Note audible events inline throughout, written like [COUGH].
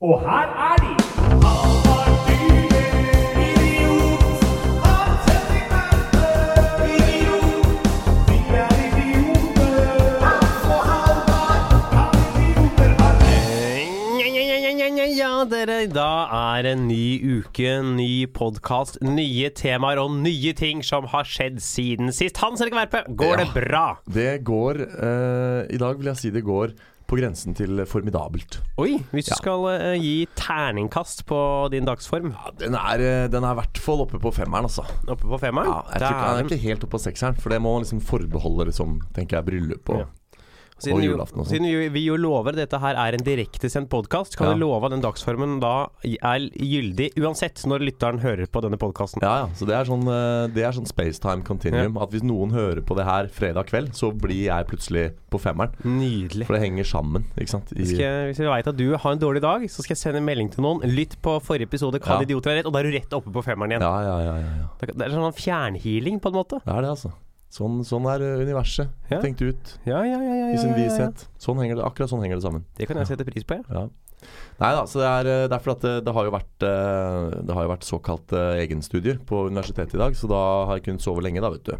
Og her er de! er Ja, ja, ja, ja, ja, ja, dere. Da er en ny uke, ny podkast, nye temaer og nye ting som har skjedd siden sist. Hans Erik Verpe, går det bra? Det går eh, I dag vil jeg si det går på grensen til formidabelt. Oi, hvis du skal eh, gi terningkast på din dagsform Ja, den er eh, den er i hvert fall oppe på femmeren, altså. oppe på femmeren Ja, jeg da tror ikke, den er er ikke helt oppe på sekseren, for det må man liksom forbeholde liksom, tenker jeg, bryllup og Ja. Siden, jo, julaften og sånt. siden jo- vi jo lover at dette her er en direktesendt podkast, kan Ja. vi love at den dagsformen da er gyldig uansett når lytteren hører på denne podkasten. Ja, ja. Så det er sånn, eh, det er sånn spacetime continuum. At hvis noen hører på det her fredag kveld, så blir jeg plutselig på femmeren. Nydelig. For det henger sammen, ikke sant. I, Hvis jeg, hvis jeg veit at du har en dårlig dag, så skal jeg sende en melding til noen. Lytt på forrige episode, kan Ja. idioter være rett? Og da er du rett oppe på femmeren igjen. ja, ja, ja, ja, ja. Det er sånn fjernhealing, på en måte. Det er det, altså. Sånn, sånn er eh, universet Ja. tenkt ut Ja, ja, ja. ja, i sin ja, ja, ja. vishet. Sånn henger det, akkurat sånn henger det sammen. Det kan jeg sette pris på, ja. Ja. Nei da, så det er eh, det er fordi at det, det har jo vært eh, Det har jo vært såkalt eh, egenstudier på universitetet i dag, så da har jeg kunnet sove lenge, da, vet du.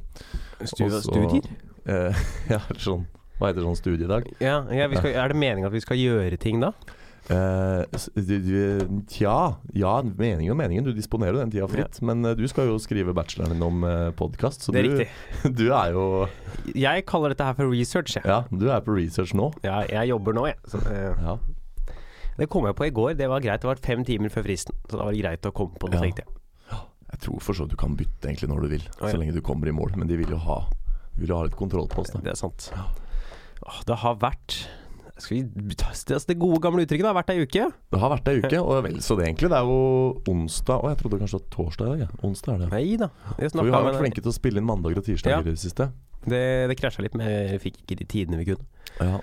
Også- Eh, [LAUGHS] ja, sånn Hva heter sånn studie i dag? Ja, ja, vi skal, er det meningen at vi skal gjøre ting da? Eh, s- du, du, tja, ja, meningen og meningen. Du disponerer jo den tida fritt. Men eh, du skal jo skrive bacheloren din om eh, podkast, så Det er du, [LAUGHS] du er jo Jeg kaller dette her for research, jeg. Ja, du er på research nå. Ja, jeg jobber nå, jeg. Så, eh, Ja. det kom jeg på i går. Det var greit. Det var fem timer før fristen. Så da var det greit å komme på det, Ja. tenkte jeg. Jeg tror for så vidt du kan bytte egentlig når du vil, Å, ja. så lenge du kommer i mål. Men de vil jo ha, vil jo ha litt kontroll på oss, da. Det er sant. Åh, det har vært skal vi ta det, altså, det gode gamle uttrykket? Det har vært ei uke. Det har vært ei uke, og vel så det, egentlig. Det er jo onsdag Å, jeg trodde kanskje det var torsdag i dag. Ja. Onsdag er det. Nei da. Vi For vi snakka har vært med flinke til å spille inn mandager og Ja. tirsdager i det siste. Det, det krasja litt, men jeg fikk ikke de tidene vi kunne. Ja.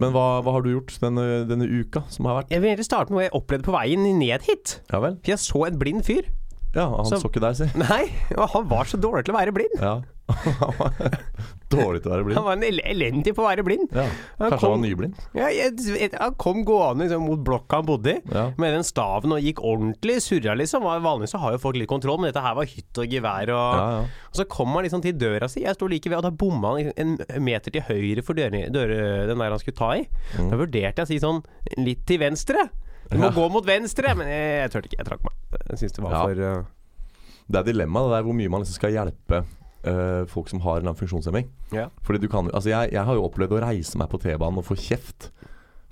Men hva, hva har du gjort denne, denne uka som har vært? Jeg vil egentlig starte med noe jeg opplevde på veien ned hit. Ja vel? For jeg så en blind fyr. Ja, han Så- så, ikke deg, si. Nei, [LAUGHS] og han var så dårlig til å være blind. Ja. [LAUGHS] Han var Dårlig til å være Han blind. var en el elendig på å være blind. Ja. Han Kanskje han kom- var nyblind? Ja, jeg, jeg, han kom gående liksom, mot blokka han bodde i, Ja. med den staven og gikk ordentlig surra, liksom. Var- Vanligvis så har jo folk litt kontroll, men dette her var hytt og gevær. Og, Ja, ja. og så kom han liksom til døra si, jeg sto like ved, og da bomma han liksom en meter til høyre for dør, dør, den der han skulle ta i. Da vurderte jeg å si sånn litt til venstre. Du må Mm. Ja. gå mot venstre, men jeg, jeg turte ikke. Jeg trakk meg. Jeg synes det var Ja. for uh, Det er dilemmaet, det der hvor mye man liksom skal hjelpe eh, folk som har en eller annen funksjonshemming. Ja. Fordi du kan jo Altså, jeg, jeg har jo opplevd å reise meg på T-banen og få kjeft.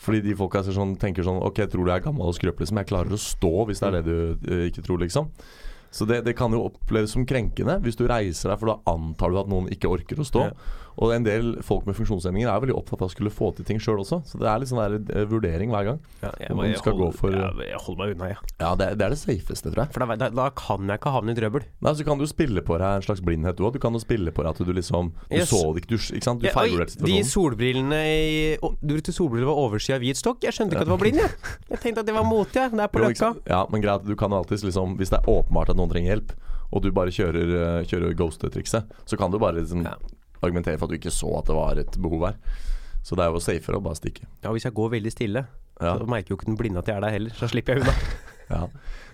Fordi de folka ser sånn, tenker sånn OK, tror du jeg er gammel og skrøpelig, som jeg klarer å stå, hvis det er det du eh, ikke tror, liksom. Så det, det kan jo oppleves som krenkende hvis du reiser deg, for da antar du at noen ikke orker å stå. Ja. Og en del folk med funksjonshemninger er veldig opptatt av å skulle få til ting sjøl også. Så det er litt sånn der eh, vurdering hver gang. ja, jeg, Om bare- man skal gå holder- for- eh, ja, jeg holder meg unna, jeg. Ja, det, det er det safeste, tror jeg. For da, da, da kan jeg ikke havne i trøbbel. Nei, så kan du spille på deg en slags blindhet du òg. Du kan jo spille på deg at du liksom Du Yes. så det ikke, du, ikke sant? Du Ja, oi, de feilvurderte situasjonen. solbrillene i, å, Du brukte solbriller over oversida av hvit stokk. Jeg skjønte ikke at du var blind, jeg. Jeg tenkte at det var mote, jeg. Det er på Jo, ikke Løkka. sant? Ja, men greit, du kan alltids liksom Hvis det er åpenbart at noen trenger hjelp, og du bare kjører, eh, kjører ghost-trikset, så kan du bare liksom Ja. argumentere for at du ikke så at det var et behov her. Så det er jo safere å bare stikke. Ja, hvis jeg går veldig stille, Ja. så merker jo ikke den blinde at jeg er der heller. Så slipper jeg unna. Ja.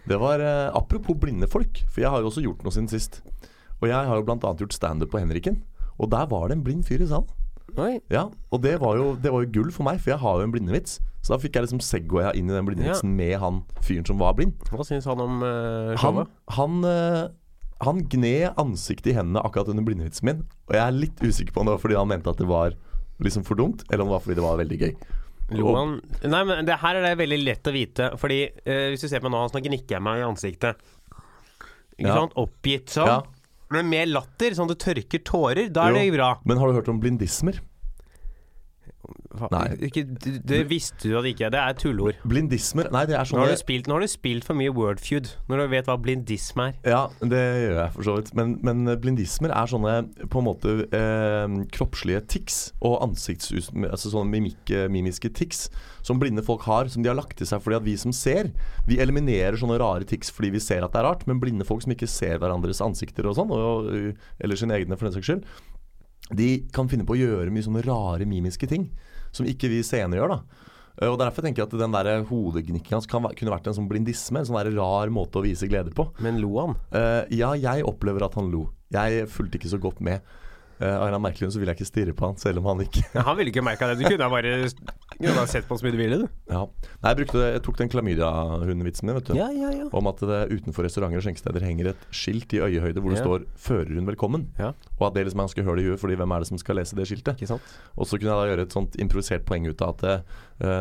Det var eh, Apropos blinde folk, for jeg har jo også gjort noe siden sist. Og jeg har jo bl.a. gjort standup på Henriken, og der var det en blind fyr i salen. Oi. Ja, og det var, jo, det var jo gull for meg, for jeg har jo en blindevits. Så da fikk jeg liksom segwaya inn i den blindevitsen med han fyren som var blind. Hva syns han om eh, Han, showet? han, eh, han gned ansiktet i hendene akkurat under blindevitsen min, og jeg er litt usikker på om det var fordi han mente at det var liksom for dumt, eller om det var fordi det var veldig gøy. Lo han Nei, men det her er det veldig lett å vite. Fordi eh, hvis du ser på meg nå, så gnikker jeg meg i ansiktet. Ikke Ja. sant? Oppgitt sånn. Ja. Men med latter, sånn at du tørker tårer, da er Jo, det bra. Men har du hørt om blindismer? Hva- Nei. Ikke, det, det visste du at ikke Det er tulleord. Blindismer, nei det er Nå sånne har, du spilt, nå har du spilt for mye Wordfeud, når du vet hva blindisme er. Ja, det gjør jeg for så vidt. Men, men blindismer er sånne på en måte eh, kroppslige tics og ansikts... Altså sånne mimik, mimiske tics som blinde folk har, som de har lagt til seg fordi at vi som ser, vi eliminerer sånne rare tics fordi vi ser at det er rart, men blinde folk som ikke ser hverandres ansikter og sånn, og, eller sine egne for den saks skyld, de kan finne på å gjøre mye sånne rare mimiske ting som ikke vi seende gjør, da. Eh, Og Derfor tenker jeg at den der hodegnikken hans kan, væ- kunne vært en sånn blindisme. En sånn der rar måte å vise glede på. Men lo han? Eh, ja, jeg opplever at han lo. Jeg fulgte ikke så godt med. Eh, av en eller annen merkelig grunn så vil jeg ikke stirre på han, selv om han ikke [LAUGHS] Ja, Han ville ikke merka det. Du kunne ha bare kunne ha sett på han så mye du ville, du. ja. Nei, jeg, brukte, jeg tok den klamydia-hundevitsen min, vet du. Ja, ja, ja. Om at det utenfor restauranter og skjenkesteder henger et skilt i øyehøyde hvor det Ja. står 'Fører hun velkommen'? Ja. Og at det liksom er ganske høl i huet, fordi hvem er det som skal lese det skiltet? Ikke sant? Og så kunne jeg da gjøre et sånt improvisert poeng ut av at eh,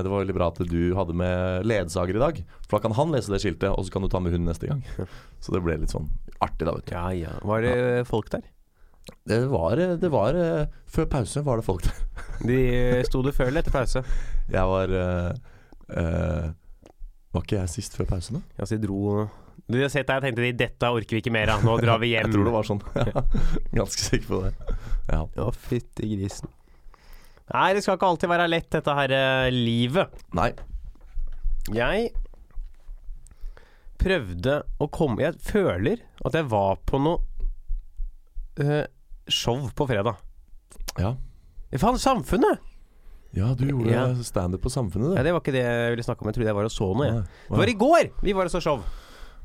det var veldig bra at du hadde med ledsager i dag, for da kan han lese det skiltet, og så kan du ta med hunden neste [LAUGHS] gang. Så det ble litt sånn artig, da, vet du. Ja, ja. Var det folk der? Det var, det var eh, Før pause var det folk der. De eh, Sto du før eller etter pause? Jeg var eh, eh, Var ikke jeg sist før pausen, da? Ja, så de dro Du har sett deg, jeg tenkte de, dette orker vi ikke mer av, nå drar vi hjem. Jeg tror det var sånn. [LAUGHS] Ganske sikker på det. Ja. Å, fytti grisen. Nei, det skal ikke alltid være lett, dette her eh, livet. Nei. Jeg prøvde å komme Jeg føler at jeg var på noe eh, show på fredag. Ja. Faen, Samfunnet! Ja, du gjorde Ja. standup på Samfunnet, Ja, du. Det var ikke det jeg ville snakke om. Jeg trodde jeg var og så noe. Jeg. Ja. Det var i går! Vi var og så show.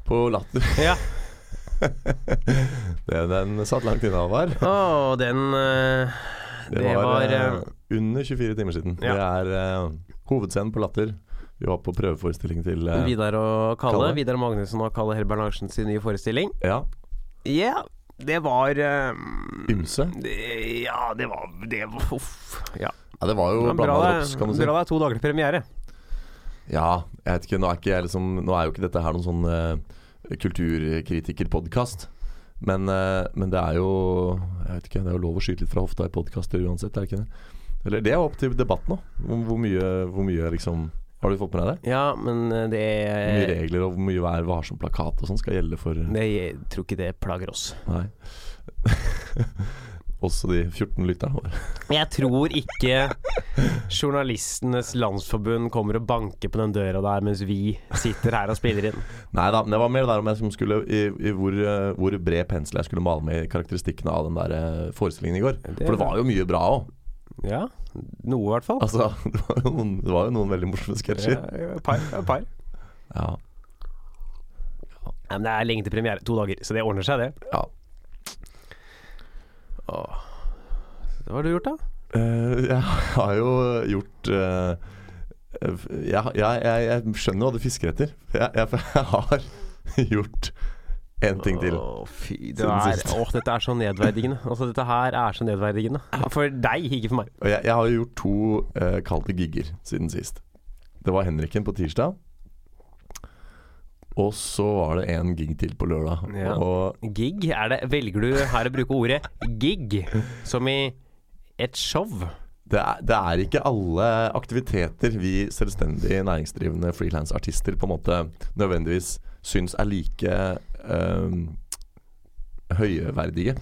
På Latter. [LAUGHS] Ja. Det- Den satt langt inne, Håvard. Å, den eh, Det, Det var, var, eh, eh, under 24 timer siden. Ja. Det er eh, hovedscenen på Latter. Vi var på prøveforestilling til eh, Vidar og Kalle. Kalle. Vidar Magnussen og Kalle Herbert Larsen sin nye forestilling. Ja, Ja, det var eh, ymse. det, Ja, det var Det var uff. Ja. Ja, det var jo Men Bra blanda det drops, kan du si. bra det er to dager til premiere. Ja, jeg vet ikke, nå er, ikke jeg liksom, nå er jo ikke dette her noen sånn eh, kulturkritikerpodkast. Men, eh, men det er jo Jeg vet ikke, det er jo lov å skyte litt fra hofta i podkaster uansett, er det ikke det? Eller det er jo opp til debatt nå. Hvor, hvor, mye, hvor mye liksom Har du fått med deg det? Ja, men eh, det Hvor mye regler og hvor mye hver varsom-plakat og sånn skal gjelde for det, Jeg tror ikke det plager oss. Nei. [LAUGHS] Også de 14 lytterne våre. Jeg tror ikke Journalistenes Landsforbund kommer og banker på den døra der mens vi sitter her og spiller inn. Nei da, det var mer der om jeg som skulle i, i hvor, eh, hvor bred pensel jeg skulle male med i karakteristikkene av den der eh, forestillingen i går. Det- For det var jo mye bra òg. Ja, noe i hvert fall. Altså, [LAUGHS] det var jo noen, det var jo noen veldig morsomme sketsjer. Ja, et par. Et par. Ja. Nei, men det er lenge til premiere. To dager, så det ordner seg, det. ja. Åh. Hva har du gjort, da? Eh, jeg har jo gjort eh, jeg, jeg, jeg, jeg skjønner hva du fisker etter. Jeg, jeg, [LAUGHS] jeg har gjort én ting til. Åh, fy, det Siden er, sist. åh, dette er så nedverdigende. Altså, dette her er så nedverdigende. For deg, ikke for meg. Og jeg, jeg har jo gjort to uh, kalte gigger siden sist. Det var Henriken på tirsdag. Og så var det en gig til på lørdag. Ja. Og Gig, er det Velger du her å bruke ordet gig, som i et show? det er, det er ikke alle aktiviteter vi selvstendig næringsdrivende frilansartister på en måte nødvendigvis syns er like ehm, høyverdige.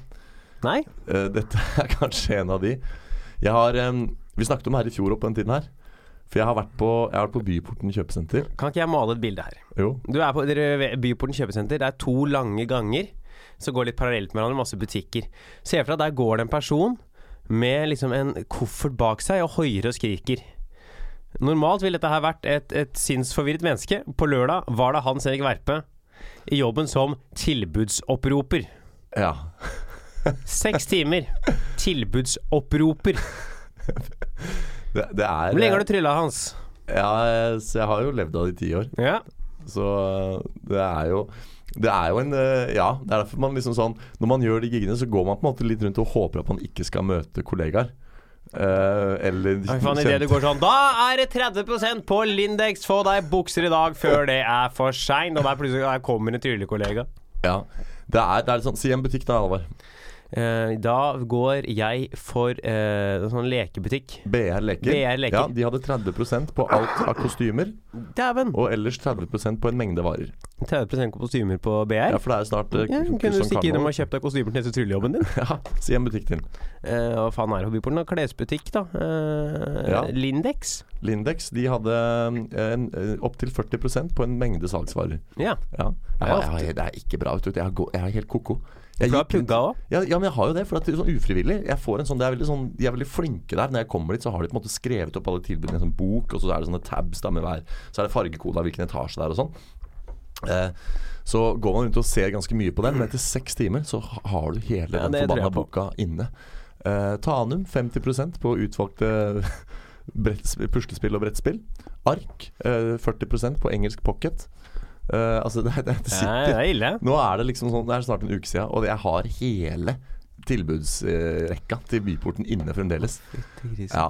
Nei? Eh, dette er kanskje en av de. Jeg har, ehm, vi snakket om det her i fjor og på den tiden her. For jeg har vært på, jeg har vært på Byporten kjøpesenter. Kan ikke jeg male et bilde her? Jo. Du er på dere, ved Byporten kjøpesenter. Det er to lange ganger som går litt parallelt med hverandre, masse butikker. Se for deg at der går det en person med liksom en koffert bak seg og hoier og skriker. Normalt ville dette her vært et, et sinnsforvirret menneske. På lørdag var det Hans Erik Verpe i jobben som tilbudsopproper. Ja. Seks timer. Tilbudsopproper. Det, det er Hvor lenge har du trylla, Hans? Ja, eh, så jeg har jo levd av det i ti år. Ja. Så eh, det er jo det er jo en eh, Ja, det er derfor man liksom sånn Når man gjør de giggene, så går man på en måte litt rundt og håper at man ikke skal møte kollegaer. Eh, eller Oi, faen, i det du går sånn Da er det 30 på Lindex, få deg bukser i dag før det er for seint. Og der plutselig der kommer en tryllekollega. Ja. Det er, det er sånn Si en butikk, da, Alvar. Eh, da går jeg for eh, en sånn lekebutikk. BR Leker. BR Leker. Ja, De hadde 30 på alt av kostymer, Dæven! og ellers 30 på en mengde varer. 30 kostymer på BR. Ja, for det er snart eh, Ja, kus- kunne du kus- stikke innom karneval. og kjøpt deg kostymer til neste tryllejobben din? [LAUGHS] Ja, si en butikk til. Eh, hva faen er hobbyporten? da? Klesbutikk, da. Eh, Ja. Lindex. Lindex de hadde eh, opptil 40 på en mengde salgsvarer. Ja. Ja. Jeg, Ja. har- jeg, har- det er ikke bra, vet du. Jeg, har gå- jeg er helt ko-ko. Jeg Du har gikk rundt- pugga òg. Ja, ja, men jeg har jo det, for at det er sånn ufrivillig. Jeg får en sånn, det er veldig sånn, De er veldig flinke der. Når jeg kommer dit, så har de på en måte skrevet opp alle tilbudene i en sånn bok, og så er det sånne tabs da med hver Så er det fargekode av hvilken etasje det er og sånn. Eh, så går man rundt og ser ganske mye på den, men etter seks timer så ha- har du hele Ja, den det tror jeg forbanna på. boka inne. Eh, Tanum 50 på utvalgte [LAUGHS] brettspill, puslespill og brettspill. Ark eh, 40 på engelsk pocket. Eh, altså, [LAUGHS] det, det, det Ja, sitter det er ille. nå er det liksom sånn, det er snart en uke siden, og jeg har hele tilbudsrekka til Byporten inne fremdeles. Ja.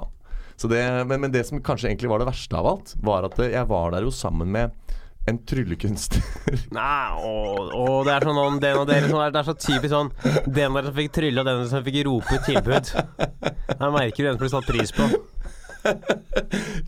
Så det, men, men det som kanskje egentlig var det verste av alt, var at jeg var der jo sammen med en tryllekunstner. Nei, å, å, det er sånn om den og dere sånn, Det er så typisk sånn Den der som fikk trylle, og den som fikk rope ut tilbud. Jeg merker du den som ble satt pris på.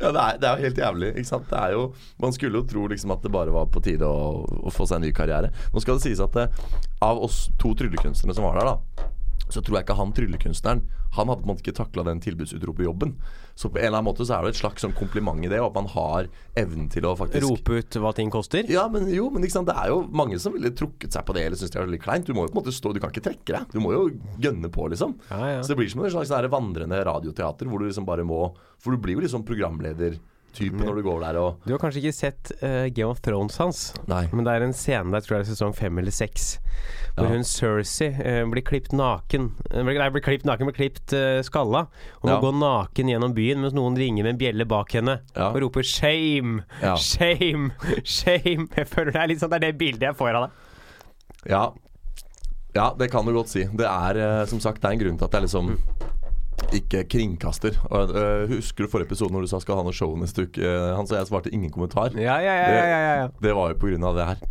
ja, det er, det er jo helt jævlig, ikke sant. Det er jo, man skulle jo tro liksom at det bare var på tide å, å få seg en ny karriere. Nå skal det sies at eh, av oss to tryllekunstnere som var der, da, så tror jeg ikke han tryllekunstneren Han hadde på en måte ikke takla den tilbudsutropejobben. Så på en eller annen måte så er det et slags sånn kompliment i det, og at man har evnen til å faktisk Rope ut hva ting koster. Ja, men jo, men ikke sant? det er jo mange som ville trukket seg på det, eller syns det er litt kleint. Du må jo på en måte stå, du kan ikke trekke deg. Du må jo gønne på, liksom. Ja, ja. Så det blir som en slags sånn her vandrende radioteater, hvor du liksom bare må For du blir jo liksom programledertype Mm. når du går der og Du har kanskje ikke sett eh, Game of Thrones hans, Nei. men det er en scene der, tror jeg det er sesong fem eller seks, hvor Ja. hun Cersei eh, blir klippet naken Eh, blir- Nei, blir klippet naken, blir klippet eh, skalla, og må Ja. gå naken gjennom byen mens noen ringer med en bjelle bak henne Ja. og roper 'shame', Ja. 'shame', [LAUGHS] 'shame'. Jeg føler det er litt sånn, det er det bildet jeg får av deg. Ja. ja, det kan du godt si. Det er eh, som sagt det er en grunn til at jeg liksom Mm. ikke kringkaster. Og, eh, husker du forrige episode når du sa skal ha noe show neste uke? Eh, Hans og jeg svarte ingen kommentar. Ja, ja, ja, ja, ja, ja. Det var jo på grunn av det her.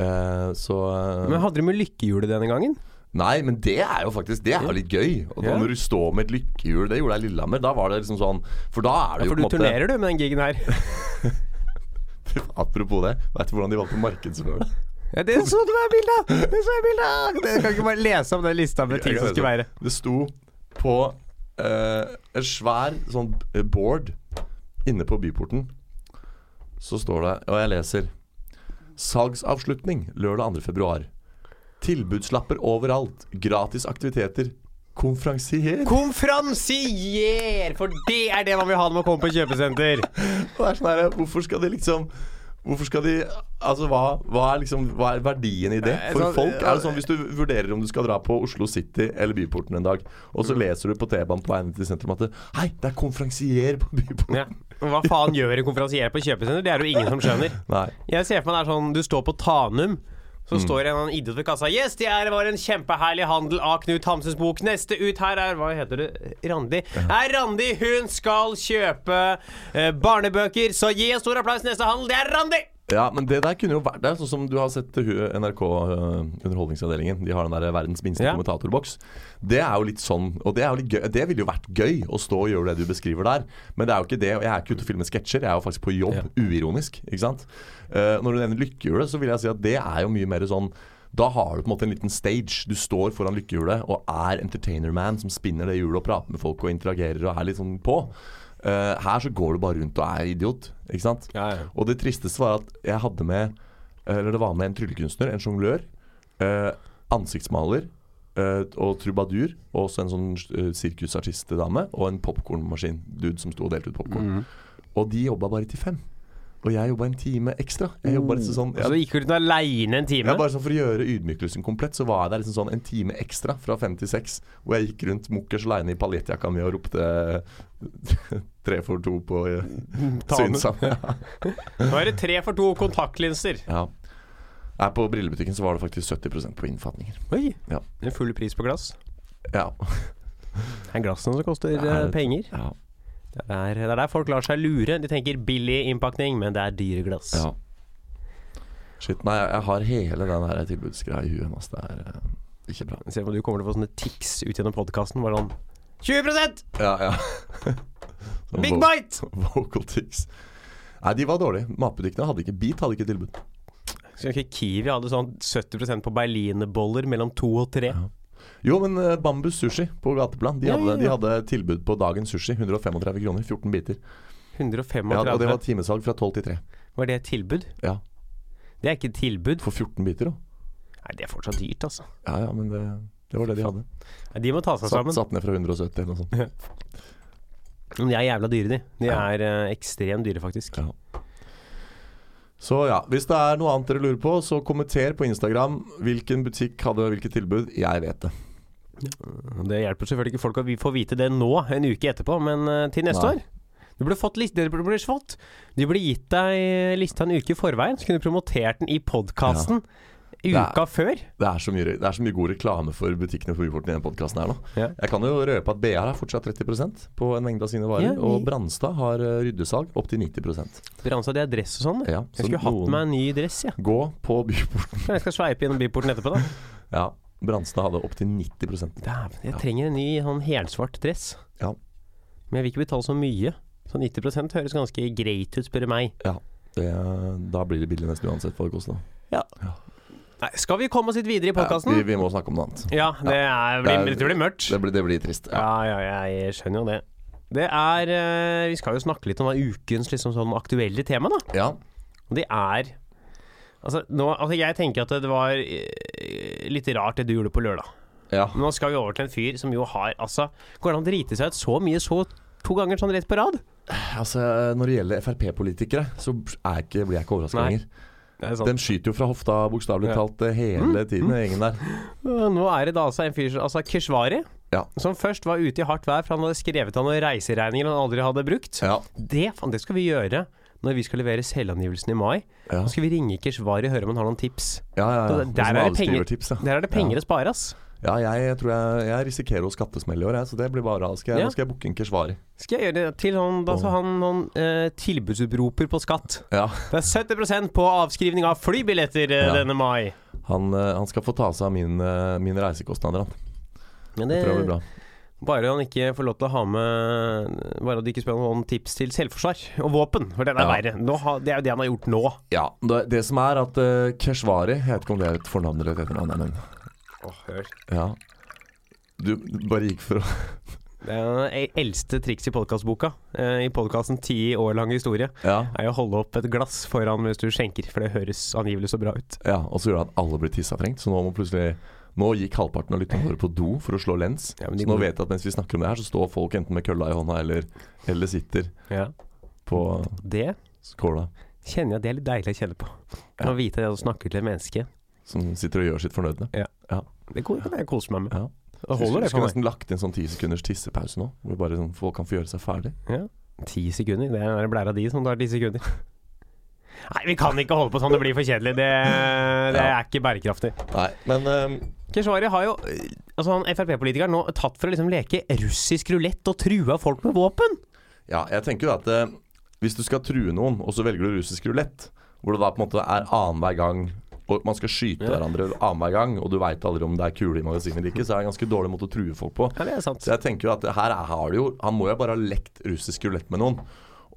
Eh, så eh, Men hadde du med lykkehjulet denne gangen? Nei, men det er jo faktisk Det er jo litt gøy. Og da Ja. Når du står med et lykkehjul Det gjorde jeg i Lillehammer. Da var det liksom sånn For da er det Ja, jo for du på en turnerer du med den gigen her. måte [LAUGHS] Apropos det. Vet du hvordan de valgte å markedsføre det? Ja, det så du meg bildet av! Det så jeg bildet av! Dere kan ikke bare lese opp den lista med [LAUGHS] ting som skulle være. Det sto på eh, en svær sånn eh, board inne på byporten. Så står det, og jeg leser Salgsavslutning lørdag 2. februar. Tilbudslapper overalt. Gratis aktiviteter. Konferansier. Konferansier! For det er det man vil ha når man kommer på kjøpesenter. [LAUGHS] Og det er sånn her, hvorfor skal de liksom Hvorfor skal de Altså, hva, hva, er, liksom, hva er verdien i det? Nei, For sånn- folk er det sånn hvis du vurderer om du skal dra på Oslo City eller Byporten en dag, og Mm. så leser du på T-banen på vei ned til sentrum at det, Hei, det er konferansier på Byporten. Ja. Men Hva faen gjør en konferansier på kjøpesenter? Det er det jo ingen som skjønner. Nei. Jeg ser for meg det er sånn, du står på Tanum. Så står en eller annen idiot ved kassa. 'Yes, det her var en kjempeherlig handel av Knut Hamsuns bok.' 'Neste ut her er Hva heter det? Randi. Er Randi, hun skal kjøpe eh, barnebøker, så gi en stor applaus til neste handel. Det er Randi! Ja, men det der kunne jo vært Det er sånn som du har sett hu- NRK øh, Underholdningsavdelingen. De har den der verdens minste Ja. kommentatorboks. Det er jo litt sånn Og det, er jo litt gøy, det ville jo vært gøy å stå og gjøre det du beskriver der. Men det er jo ikke det. Og jeg er ikke ute og filmer sketsjer. Jeg er jo faktisk på jobb, uironisk. Ikke sant? Eh, når du nevner lykkehjulet, så vil jeg si at det er jo mye mer sånn da har du på en måte en liten stage. Du står foran lykkehjulet og er entertainer man som spinner det hjulet og prater med folk og interagerer og er litt sånn på. Eh, her så går du bare rundt og er idiot, ikke sant? Ja, ja. Og det tristeste var at jeg hadde med eh, Eller det var med en tryllekunstner, en jonglør, eh, ansiktsmaler eh, og trubadur, og også en sånn eh, sirkusartistdame, og en popkornmaskin. Dude som sto og delte ut Mm. popkorn. Og de jobba bare til fem. Og jeg jobba en time ekstra. Jeg jobba Mm. liksom sånn Og så jeg, gikk hun ut aleine en time. jeg bare sånn For å gjøre ydmykelsen komplett, så var jeg der liksom sånn en time ekstra fra fem til seks. Hvor jeg gikk rundt mukkers leine i paljettjakka mi og ropte [LAUGHS] tre for to på eh, Ta den. Synsam. Ja. Nå er det tre for to kontaktlinser. Ja. Nei, på brillebutikken så var det faktisk 70 på innfatninger. Oi. Ja. En full pris på glass. Ja. Det er glassene som koster Det er- eh, penger. Det er, det er der folk lar seg lure. De tenker billig innpakning, men det er dyre glass. ja. Shit, nei, jeg har hele den her tilbudsgreia i huet. Altså, det er eh, ikke bra. Se om du kommer til å få sånne tics ut gjennom podkasten. Bare sånn 20 Ja, ja. [LAUGHS] Sånn Big vo- bite! Vocal tics. Nei, de var dårlige. Matbutikkene hadde ikke Beat hadde ikke tilbud. Skal ikke Kiwi hadde sånn 70 på berlinerboller mellom to og tre? Jo, men eh, Bambus Sushi på gateplan, de Ja, hadde, ja, de ja. hadde tilbud på dagens sushi. 135 kroner, 14 biter. 135. Ja, og det var... var timesalg fra 12 til 3. det et tilbud? Ja, Det er ikke et tilbud. For 14 biter, da. Nei, det er fortsatt dyrt, altså. Ja, ja, men det, det var det de hadde. Nei, de må ta seg Satt, sammen. satt ned fra 170 eller noe sånt. Men de er jævla dyre, de. De Ja. er eh, ekstremt dyre, faktisk. Ja. Så ja, hvis det er noe annet dere lurer på, så kommenter på Instagram hvilken butikk hadde hvilket tilbud. Jeg vet det. Det hjelper selvfølgelig ikke folk at vi får vite det nå, en uke etterpå, men eh, til neste Nei. år. Du burde fått list, dere burde fått De burde gitt deg lista en uke i forveien, så kunne du promotert den i podkasten Ja. uka før. Det er så mye, det er så mye god reklame for butikkene på Uforten i denne podkasten her nå. Ja. Jeg kan jo røpe at BR er fortsatt 30 på en mengde av sine varer. Ja, vi- Og Branstad har eh, ryddesalg opptil 90 Dere ansatte i dress og sånn. ja, Jeg skulle hatt meg en ny dress, jeg. Gå på [LAUGHS] Byporten. Ja. Jeg skal sveipe gjennom byporten etterpå, da. Ja, Branstad hadde opptil 90 [LAUGHS] Dæven, jeg trenger en ny sånn helsvart dress. Ja. Men jeg vil ikke betale så mye. Så 90 høres ganske greit ut, spør du meg. det, Da blir det billig nesten uansett hva det koster. Nei, skal vi komme oss litt videre i podkasten? Ja, vi, vi må snakke om noe annet. Ja, det, er, Det er- blir, det blir mørkt. Det blir, det blir trist. Ja. Ja, ja, jeg skjønner jo det. Det er eh, Vi skal jo snakke litt om hva ukens liksom sånn aktuelle tema, da. ja. Og det er Altså, nå, altså jeg tenker at det var eh, litt rart det du gjorde på lørdag. ja. Men nå skal vi over til en fyr som jo har Altså, går det an å drite seg ut så mye så to ganger sånn rett på rad? Altså, når det gjelder Frp-politikere, så er ikke, blir jeg ikke overraska Nei. lenger. Det er sant. De skyter jo fra hofta bokstavelig Ja. talt eh, hele Mm. tiden, den gjengen der. Nå er det da altså en fyr som Altså Keshvari, Ja. som først var ute i hardt vær for han hadde skrevet av noen reiseregninger han aldri hadde brukt. Ja. Det, faen, det skal vi gjøre når vi skal levere selvangivelsen i mai. Ja. Nå skal vi ringe Keshvari og høre om han har noen tips. Ja, ja, ja. Der Og er som det avskrivertips, ja. Der er det penger å spare, ass. ja jeg, tror jeg, jeg risikerer å skattesmelle i år, jeg, så det blir bare av. Skal jeg, Ja. Nå skal jeg booke en keshvari. Skal jeg gjøre det til han, da, så han noen eh, tilbudsutroper på skatt. Ja. Det er 70 på avskrivning av flybilletter eh, Ja. denne mai. Han, eh, han skal få ta seg av min, eh, mine reisekostnader, han. Men Det tror jeg blir bra. bare han ikke får lov til å ha med Bare at de ikke spør om tips til selvforsvar og våpen, for den er Ja. verre. Nå, ha- det er jo det han har gjort nå. Ja, det, det som er at eh, Keshvari Jeg vet ikke om det er et fornavn eller et etternavn. Men, ja. Du bare gikk for å Det er det eldste triks i podkastboka. I podkasten 'Ti år lang historie' Ja, er jo å holde opp et glass foran hvis du skjenker, for det høres angivelig så bra ut. ja og så gjør det at alle blir tissatrengt. Så nå må plutselig Nå gikk halvparten av lytterne våre på do for å slå lens. Ja, så men de nå går- vet jeg at mens vi snakker om det her, så står folk enten med kølla i hånda eller, eller sitter på Det skåla. kjenner jeg det er litt deilig å kjenne på. Ja. Å vite det å snakke til et menneske. Som sitter og gjør sitt fornødne. Det kan jeg kose meg med. Ja. Det holder det Skulle for meg. nesten lagt inn sånn ti sekunders tissepause nå. Hvor bare sånn, folk kan få gjøre seg ferdig. Ti sekunder. Det er den blæra di som tar ti sekunder. [LAUGHS] Nei, vi kan ikke holde på sånn. Det blir for kjedelig. Det, det Ja. er ikke bærekraftig. Nei, men ehm, Keshvari har jo Altså han Frp-politikeren nå tatt for å liksom leke russisk rulett og trua folk med våpen. Ja, jeg tenker jo at eh, hvis du skal true noen, og så velger du russisk rulett, hvor det da på en måte er annenhver gang og man skal skyte Ja. hverandre annenhver gang, og du veit aldri om det er kule i magasinet eller ikke, så er det en ganske dårlig måte å true folk på. Ja, det er sant. Så jeg tenker jo at det her er, har det jo Han må jo bare ha lekt russisk rulett med noen.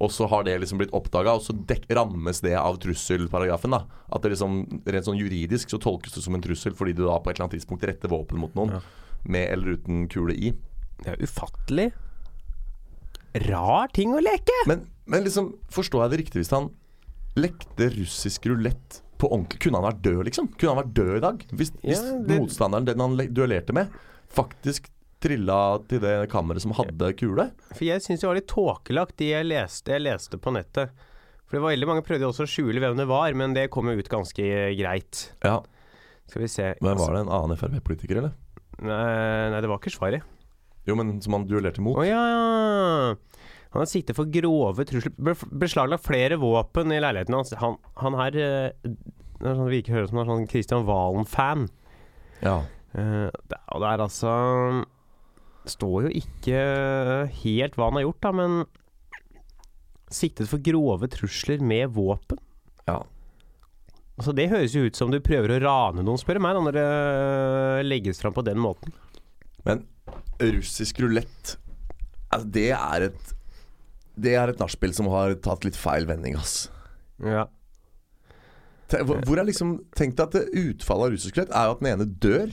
Og så har det liksom blitt oppdaga, og så dek, rammes det av trusselparagrafen. da At det liksom rent sånn juridisk så tolkes det som en trussel fordi du da på et eller annet tidspunkt retter våpen mot noen. Ja. Med eller uten kule i. Det er ufattelig rar ting å leke. Men, men liksom, forstår jeg det riktig hvis han lekte russisk rulett på ordentlig? Kunne han vært død, liksom? Kunne han vært død i dag? Hvis, hvis Ja, det- motstanderen, den han le- duellerte med, faktisk trilla til det kammeret som hadde kule? For jeg syns det var litt tåkelagt, de jeg leste, jeg leste på nettet. For det var veldig mange prøvde jo også å skjule hvem det var, men det kom jo ut ganske greit. Ja, Skal vi se Men var det en annen Frp-politiker, eller? Nei, nei, det var ikke svaret. Jo, men som han duellerte Å mot? ja, ja. Han er siktet for grove trusler. Be- Beslaglagt flere våpen i leiligheten hans. Han, han er eh, det er sånn, Virker høres som han er sånn Christian Valen-fan. Ja. Eh, det- og det er altså Står jo ikke eh, helt hva han har gjort, da, men Siktet for grove trusler med våpen. Ja. Altså Det høres jo ut som du prøver å rane noen, spør du meg, da, når det legges fram på den måten. Men russisk rulett altså, Det er et Det er et nachspiel som har tatt litt feil vending, ass. Ja. Te- Hvor hvor er liksom Tenk deg at det utfallet av russisk rulett er jo at den ene dør.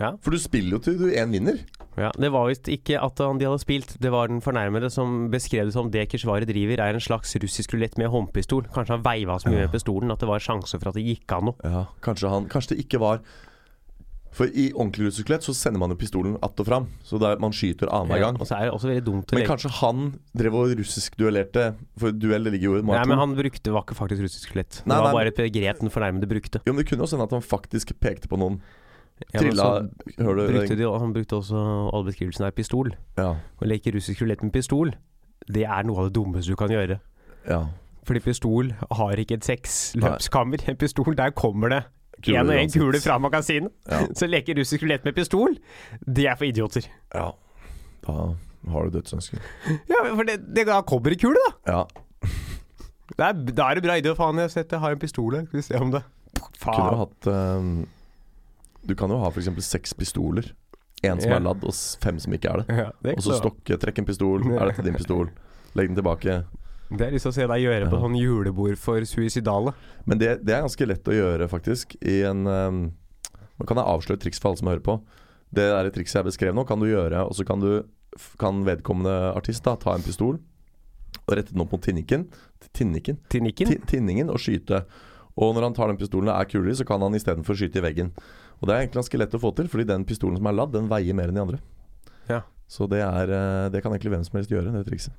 Ja. For du spiller jo til du én vinner. Ja, det var visst ikke at han de hadde spilt, det var den fornærmede som beskrev det som det Keshvari driver er en slags russisk rulett med håndpistol. Kanskje han veiva så mye med pistolen at det var sjanse for at det gikk an noe. Ja, kanskje, han, kanskje det ikke var For i ordentlig russisk rulett så sender man jo pistolen att og fram. Så det er, man skyter annenhver gang. Og så er det også veldig dumt å Men legge kanskje han drev og russisk duellerte For duell det ligger jo i Nei, Mark men II. han brukte var ikke faktisk russisk rulett. Det Nei, var nei, bare et begrep den fornærmede brukte. Jo, men Det kunne også hende at han faktisk pekte på noen. Ja, men Trilla så Hører du brukte de, han brukte også alle beskrivelsen her pistol. Ja. Å leke russisk rulett med pistol, det er noe av det dummeste du kan gjøre. ja. Fordi pistol har ikke et seksløpskammer. En pistol, der kommer det Kuler én og én uansett. kule fra magasinet. Ja. [LAUGHS] Så leke russisk rulett med pistol, det er for idioter. ja. Da har du dødsønske. Ja, for det, det da kommer det kule, da. Ja. Det er, da er det bra idé. Faen, jeg har sett det. Jeg har en pistol her. Skal vi se om det Kunne jo Faen. hatt ehm, Du kan jo ha f.eks. seks pistoler. Én som Ja. er ladd, og s- fem som ikke er det. Ja, det, Og så stokke, trekk en pistol. Er dette din pistol? Legg den tilbake. det har jeg lyst til å se deg gjøre på Ja. sånn julebord for suicidale. Men det, det er ganske lett å gjøre, faktisk. I en ehm, Nå kan jeg avsløre et triks for alle som hører på. Det der trikset jeg beskrev nå, kan du gjøre, og så kan, du, f- kan vedkommende artist da ta en pistol og rette den opp mot tinniken. Tinniken? Til nikken. ti- tinningen og skyte. Og når han tar den pistolen og er kule i, så kan han istedenfor skyte i veggen. Og det er egentlig ganske lett å få til, fordi den pistolen som er ladd, den veier mer enn de andre. Ja. Så det, er, eh, det kan egentlig hvem som helst gjøre, det trikset.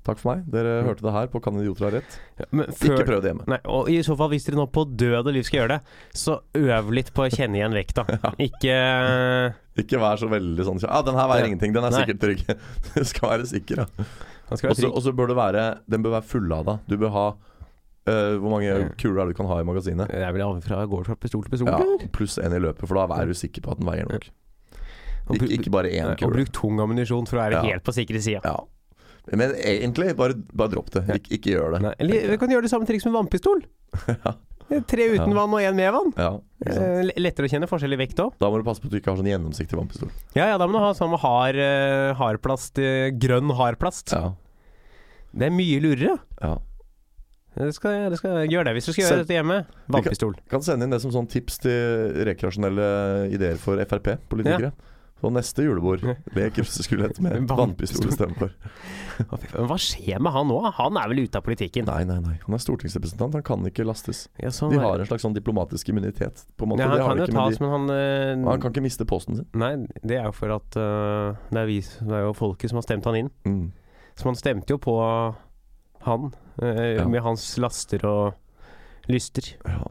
Takk for meg. Dere hørte det her på Kan idioter ha rett? Ja, men Mm. Ikke før prøv det hjemme. Nei, og I så fall, hvis dere nå på død og liv skal gjøre det, så øv litt på å kjenne igjen [LAUGHS] vekta. Ikke eh, Ikke vær så veldig sånn Ja, den her veier Ja. ingenting. Den er Nei. sikkert trygg. [LAUGHS] Du skal være sikker, da. Han skal være Og så- trygg. Og så bør det være Den bør være fullada. Du bør ha eh, Hvor mange Ja. kuler er det du kan ha i magasinet? Det er vel alt fra går fra pistol til pistol. Ja, eller? pluss én i løpet, for da er du sikker på at den veier nok. Og bru- Ikke, ikke bare én Og kule. bruk tung ammunisjon for å være Ja. helt på sikre sida. Ja. Men egentlig, bare, bare dropp det. Ik ikke gjør det. Nei, Eller vi kan gjøre det samme triks med vannpistol. Tre uten [LAUGHS] Ja. vann og én med vann. Ja, ikke sant? Eh, Lettere å kjenne forskjell i vekt òg. Da må du passe på at du ikke har sånn gjennomsiktig vannpistol. Ja ja, da må du ha samme hard eh, hardplast. eh, Grønn hardplast. Ja. Det er mye lurere. Ja. Det skal, det skal gjøre det hvis du skal gjøre Så- dette hjemme. [LAUGHS] Vannpistol. Kan sende inn det som sånn tips til rekreasjonelle ideer for Frp-politikere. Så neste julebord lek russisk rulett [LAUGHS] med vannpistol istedenfor. Å, fy faen, Hva skjer med han nå? Han er vel ute av politikken? Nei, nei, nei. Han er stortingsrepresentant, han kan ikke lastes. Ja, sånn De er- har en slags sånn diplomatisk immunitet, på en måte. ja, han det har kan de jo ikke, tas, men de, men han eh, han kan ikke miste posten sin. Nei, det er jo for at eh, det, er vi, det er jo folket som har stemt han inn. Mm. Så man stemte jo på han, eh, Ja. med hans laster og lyster. Ja.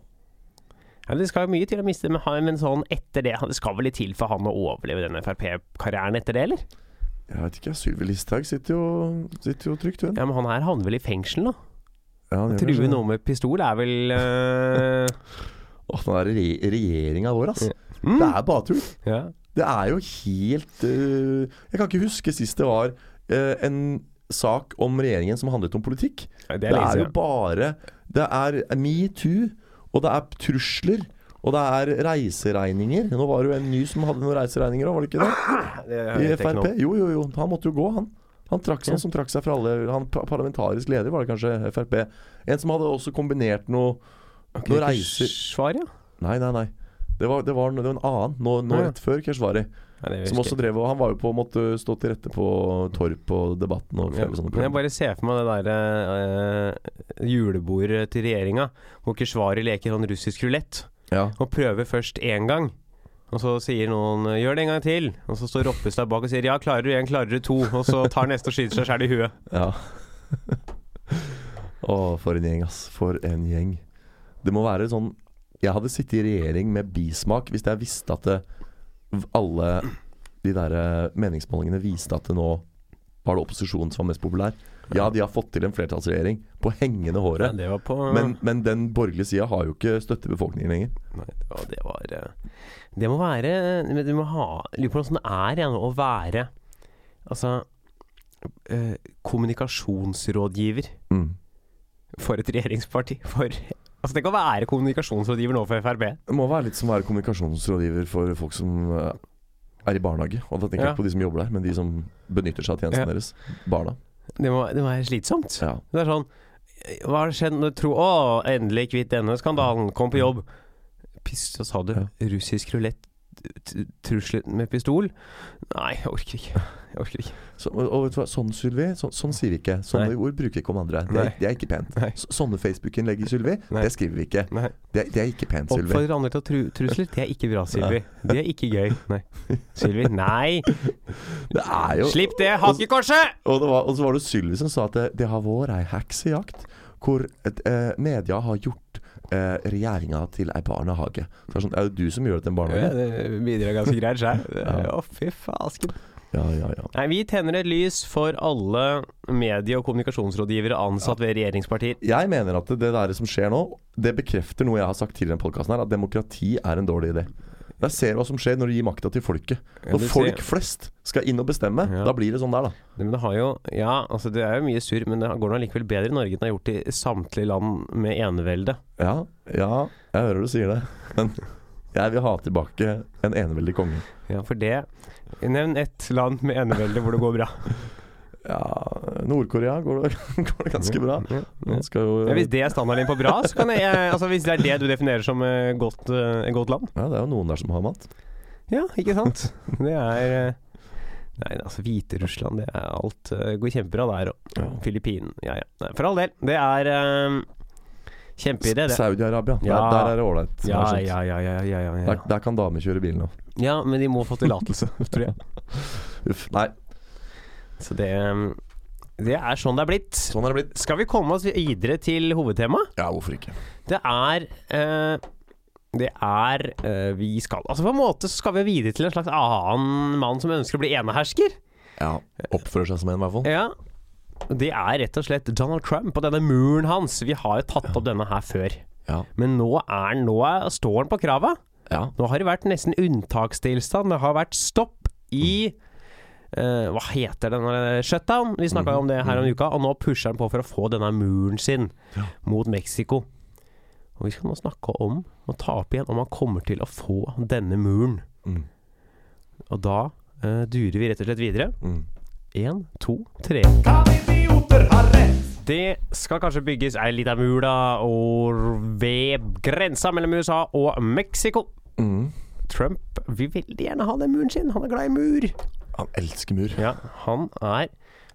Ja, det skal jo mye til å miste, men, han- men sånn etter det Det skal vel litt til for han å overleve den Frp-karrieren etter det, eller? Jeg vet ikke, Sylvi Listhaug sitter jo, sitter jo trygt, hun. Ja, Men han her havner vel i fengsel, da? Ja, han gjør kanskje True det. noe med pistol er vel eh, [LAUGHS] Åh, den der re regjeringa vår, ass. mm, Det er bare tull. ja. Det er jo helt øh, Jeg kan ikke huske sist det var øh, en sak om regjeringen som handlet om politikk. Ja, Det Det er, er lenge jo siden. bare Det er metoo, og det er trusler. Og det er reiseregninger. Nå var det jo en ny som hadde noen reiseregninger òg, var det ikke det? Det I vet jeg ikke Frp. noe om. Jo, jo, jo. Han måtte jo gå, han. Han trakk seg, Ja. han som trakk seg fra alle Han pa- parlamentarisk leder, var det kanskje, Frp. En som hadde også kombinert noe Ok, Nå reiser- Svar, ja. Nei, nei, nei. Det var, det var, det var en annen, nå, nå Ja. rett før Keshvari. ja det Som husker også drev og Han var jo på måtte stå til rette på Torp og Debatten og Ja, flere sånne men jeg program. bare ser for meg det der eh, julebordet til regjeringa, hvor Keshvari leker sånn russisk rulett Ja. og prøver først én gang. Og så sier noen 'gjør det en gang til', og så står Roppestad bak og sier 'ja, klarer du én, klarer du to', og så tar neste og skyter seg sjæl i huet. ja. [LAUGHS] Å, for en gjeng, ass. For en gjeng. Det må være sånn Jeg hadde sittet i regjering med bismak hvis jeg visste at det, alle de der eh, meningsmålingene viste at det nå var det opposisjonen som var mest populær. Ja, de har fått til en flertallsregjering på [LAUGHS] hengende Ja, håret. det var på Men, men den borgerlige sida har jo ikke støtte befolkningen lenger. Nei, det var, det var eh, Det må være men Du må ha Lurer på hvordan det er igjen å være Altså eh, Kommunikasjonsrådgiver Mm. for et regjeringsparti. For Altså, tenk å være kommunikasjonsrådgiver nå for Frp. Det må være litt som å være kommunikasjonsrådgiver for folk som eh, er i barnehage. Og da tenker jeg Ja. ikke på de som jobber der, men de som benytter seg av tjenesten Ja. deres. Barna. Det må, det må være slitsomt. Ja. Det er sånn Hva har skjedd når du tror Å, endelig kvitt denne skandalen. Kom på jobb. Piss, så sa du russisk rulett. Trusler med pistol? Nei, jeg orker ikke. Jeg orker ikke. Så, og, og vet du hva, sånn, Sylvi, så, sånn sier vi ikke. Sånne Nei. ord bruker vi ikke om andre. Det er, Nei. det er ikke pent. Nei. Så- Sånne Facebook-innlegg, Sylvi, Nei. det skriver vi ikke. Nei. Det, er- det er ikke pent, Sylvi. Oppfordrer andre til å tru trusler? Det er ikke bra, Sylvi. Det er ikke [LAUGHS] gøy. Nei. Sylvi, nei! Det er jo Slipp det hakekorset! Og, det var, og så var det Sylvi som sa at det, det har vært ei heksejakt hvor et, eh, media har gjort eh, regjeringa til ei barnehage. Så det er, sånn, er det du som gjør det til en Ja, barnehage? det bidrar ganske greit sjøl. [LAUGHS] Ja. Å, fy fasken. Ja, ja, ja. Nei, vi tenner et lys for alle medie- og kommunikasjonsrådgivere ansatt ved regjeringspartier. Jeg mener at det der som skjer nå, det bekrefter noe jeg har sagt tidligere i denne podcasten her, at demokrati er en dårlig idé. Jeg ser hva som skjer når du gir makta til folket. Når du folk flest skal inn og bestemme, Ja. da blir det sånn der, da. Nei, Men det har jo Ja, altså det er jo mye surr, men det går nå likevel bedre i Norge enn det har gjort i samtlige land med enevelde. Ja, ja, jeg hører du sier det. Men jeg vil ha tilbake en eneveldig konge. Ja, for det Nevn ett land med enevelde hvor det går bra. Ja, Nord-Korea går, [LAUGHS] det- går det [LAUGHS] ganske bra. Ja, ja. Man skal jo Ja, hvis det er standarden din på bra, så kan jeg Altså hvis det er det du definerer som eh, godt, eh, et godt land. Ja, det er jo noen der som har mat. Ja, ikke sant? [LAUGHS] Det er eh, Nei, altså Hviterussland, det er alt eh, går kjempebra der. Og Ja. Filippinene, ja ja. Nei, for all del. Det er eh, kjempeidé, det. Saudi-Arabia. Ja. Der, der er det ålreit. Ja, Det er sånt. ja, ja, ja, ja, ja, ja. Der, der kan damer kjøre bil nå. ja, men de må få tillatelse, tror jeg. Uff. Nei, Så det eh, Det er sånn det er blitt. sånn er det blitt. Skal vi komme oss videre til hovedtemaet? Ja, hvorfor ikke? Det er eh, det er eh, Vi skal Altså på en måte så skal vi videre til en slags annen mann som ønsker å bli enehersker. Ja, Oppfører seg som en, i hvert fall. Ja. Det er rett og slett Donald Trump og denne muren hans. Vi har jo tatt opp denne her før. Ja. Men nå, er, han- nå er, står han på krava. ja. Nå har det vært nesten unntakstilstand. Det har vært stopp i eh, Hva heter denne shutdown? Vi snakka jo om det her om uka. Og nå pusher han på for å få denne muren sin Mhm. Ja. mot Mexico. Og vi skal nå snakke om, og ta opp igjen, om han kommer til å få denne muren. Mm. Og da eh, durer vi rett og slett videre. Mm. Én, to, tre. Det skal kanskje bygges ei lita mur da, og ved grensa mellom USA og Mexico. Mm. Trump vil veldig gjerne ha den muren sin. Han er glad i mur. Han elsker mur. Ja, Han er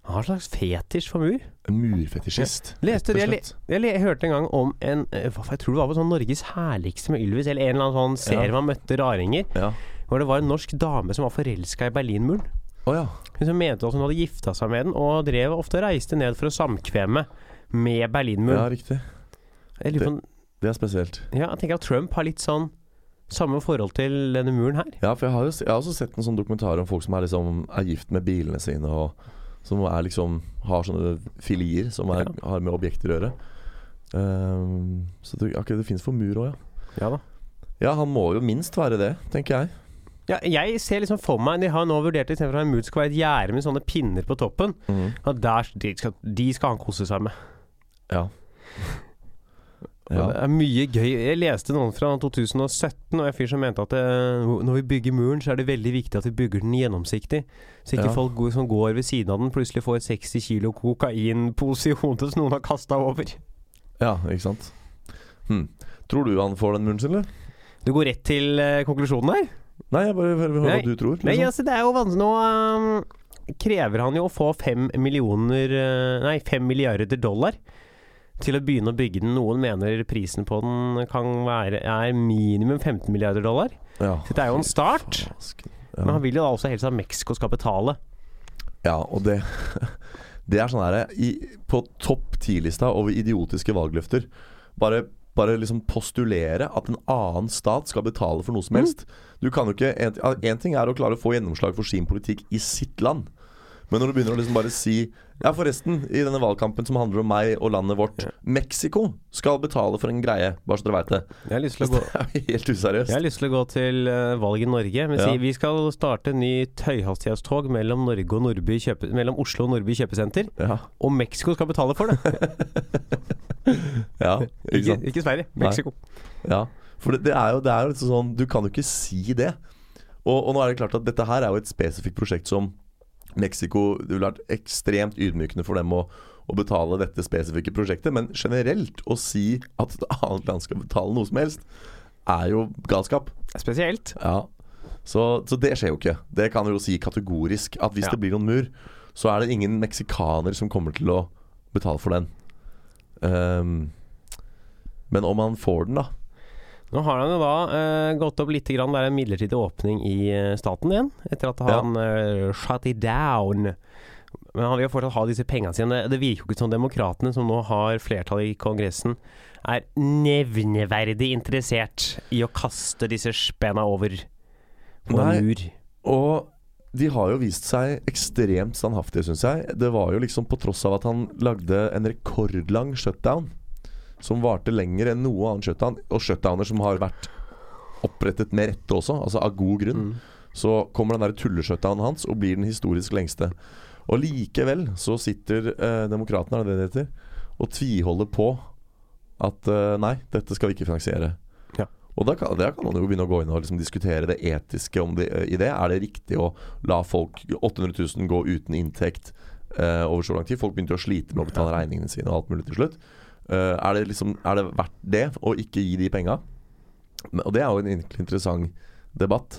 han har en slags fetisj for mur. En murfetisjist. Leste du, rett jeg, og le- slett. jeg, le- jeg hørte en gang om en eh, hva, for Jeg tror det var på sånn Norges herligste med Ylvis, eller en eller annen sånn serie Ja. man møtte raringer, Ja. hvor det var en norsk dame som var forelska i Berlinmuren. Å ja. Hun som mente at hun hadde gifta seg med den, og drev ofte reiste ned for å samkvemme med ja, Berlinmuren. riktig. jeg lurer på om Det er spesielt. Ja, jeg tenker at Trump har litt sånn samme forhold til denne muren her. Ja, for jeg har, jo, se- jeg har også sett en sånn dokumentar om folk som er, liksom, er gift med bilene sine, og som er liksom har sånne filier som er, har med objekter å gjøre. Ehm, så det, ok, det fins for mur òg, ja. Ja da. Ja, han må jo minst være det, tenker jeg. Ja, jeg ser liksom for meg De har nå vurdert det istedenfor at en mur skal være et gjerde med sånne pinner på toppen. At der, de, skal, de skal han kose seg med. [LAUGHS] Ja. Og Det er mye gøy. Jeg leste noen fra 2017 og en fyr som mente at eh, når vi bygger muren, så er det veldig viktig at vi bygger den gjennomsiktig. Så ikke Ja. folk går- som går ved siden av den, plutselig får 60 kilo kokainpose i hodet som noen har kasta over. ja, ikke sant. Hm. Tror du han får den muren sin, eller? Du går rett til eh, konklusjonen her? Nei, jeg bare hører hva Nei. du tror. Liksom. Nei, altså, det er jo vanskelig Nå ehm, krever han jo å få fem millioner eh, Nei, fem milliarder dollar til å begynne å bygge den. Noen mener prisen på den kan være er minimum 15 milliarder dollar. ja. Så det er jo en start. Fasken. Men Ja. han vil jo da også helst at Mexico skal betale. ja, og det [LAUGHS] Det er sånn her i- På topp ti-lista over idiotiske valgløfter Bare bare liksom postulere at en annen stat skal betale for noe som helst. Du kan jo ikke en, en ting er å klare å få gjennomslag for sin politikk i sitt land. Men når du begynner å liksom bare si Ja, forresten, i denne valgkampen som handler om meg og landet vårt Mexico skal betale for en greie, bare så dere veit det. Jeg har lyst [LAUGHS] Det er jo helt useriøst. til å gå til eh, valg i Norge. Men si Ja. vi skal starte en ny høyhastighetstog mellom, Norge og Nordby kjøpe, mellom Oslo og Nordby kjøpesenter. Ja, Og Mexico skal betale for det. ja [LAUGHS] ikke Ikke, sant? ikke Sverige. Nei. Mexico. Ja, for det, det er jo, det er jo liksom sånn Du kan jo ikke si det. Og, og nå er det klart at dette her er jo et spesifikt prosjekt som Mexico Det ville vært ekstremt ydmykende for dem å, å betale dette spesifikke prosjektet, men generelt å si at et annet land skal betale noe som helst, er jo galskap. Spesielt. Ja. Så, så det skjer jo ikke. Det kan vi jo si kategorisk. At hvis Ja. det blir noen mur, så er det ingen meksikaner som kommer til å betale for den. Ehm, men om han får den, da Nå har han jo da eh, gått opp litt. Grann. Det er en midlertidig åpning i eh, staten igjen, etter at Ja. han eh, shut it down. Men han vil jo fortsatt ha disse pengene sine. Det, det virker jo ikke som demokratene, som nå har flertall i Kongressen, er nevneverdig interessert i å kaste disse spenna over på Nei. en mur. Og de har jo vist seg ekstremt standhaftige, syns jeg. Det var jo liksom på tross av at han lagde en rekordlang shutdown som varte lenger enn noe annen shutdown, og shutdowner som har vært opprettet med rette også, altså av god grunn, så kommer den der tulleshutdownen hans og blir den historisk lengste. Og likevel så sitter eh, demokratene, er det det det heter, og tviholder på at eh, nei, dette skal vi ikke finansiere. Ja. Og da kan, der kan man jo begynne å gå inn og liksom diskutere det etiske om det, eh, i det. Er det riktig å la folk 800 000 gå uten inntekt eh, over så lang tid? Folk begynte jo å slite med å betale regningene sine og alt mulig til slutt. Eh, er, det liksom, er det verdt det å ikke gi de penga? Men- Og det er jo en egentlig interessant debatt.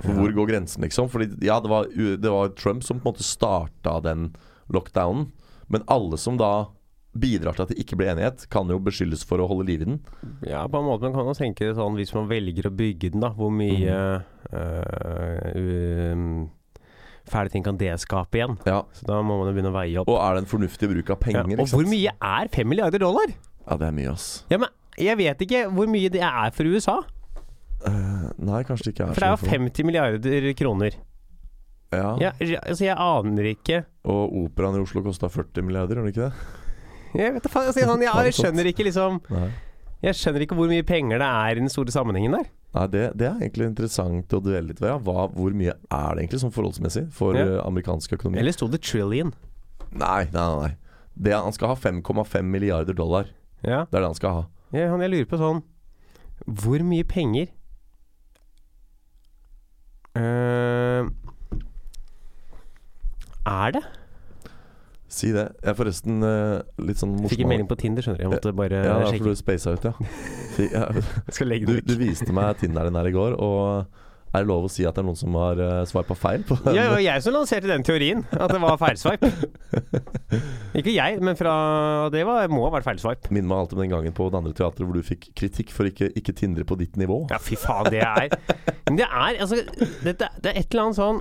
For Hvor går grensen, liksom? Fordi ja, det var, u- det var Trump som på en måte starta den lockdownen. Men alle som da bidrar til at det ikke blir enighet, kan jo beskyldes for å holde liv i den. Ja, på en måte. Man kan jo tenke det sånn hvis man velger å bygge den, da. Hvor mye Mhm. eh, um, fæle ting kan det skape igjen? Ja. Så da må man jo begynne å veie opp. Og er det en fornuftig bruk av penger? ja. ikke og hvor sant? mye er fem milliarder dollar? Ja, det er mye, ass. Ja, men jeg vet ikke hvor mye det er for USA. Eh, nei, kanskje det ikke er For det er så jo 50 milliarder kroner. Ja. Ja, altså, jeg aner ikke Og operaen i Oslo kosta 40 milliarder, gjorde den ikke det? Jeg vet da faen, [LAUGHS] altså, sånn, jeg, jeg skjønner ikke liksom Nei. Jeg skjønner ikke hvor mye penger det er i den store sammenhengen der. Nei, det, det er egentlig interessant å duelle litt ved. Ja. Hva, hvor mye er det egentlig sånn forholdsmessig for Ja. eh, amerikansk økonomi? Eller sto det trillion? Nei, nei, nei. nei. Det, han skal ha 5,5 milliarder dollar. Ja, Det er det han skal ha. jeg, jeg lurer på sånn Hvor mye penger eh, Er det? Si det. Jeg er forresten eh, litt sånn Jeg fikk morsom. en melding på Tinder, skjønner du. Jeg måtte bare Ja, det er sjekke. fordi du spasa ut, [LAUGHS] ja. Si, ja. Jeg skal legge Du, den du ut. viste meg Tinderen her i går, og er det lov å si at det er noen som har uh, sveipa feil? På den? Ja, det var jeg som lanserte den teorien, at det var feilsveip. Ikke jeg, men fra Det var, må ha vært feilsveip. Minner meg alltid om den gangen på det andre teatret hvor du fikk kritikk for ikke, ikke tindre på ditt nivå. Ja, fy faen, det er Men det er altså dette, Det er et eller annet sånn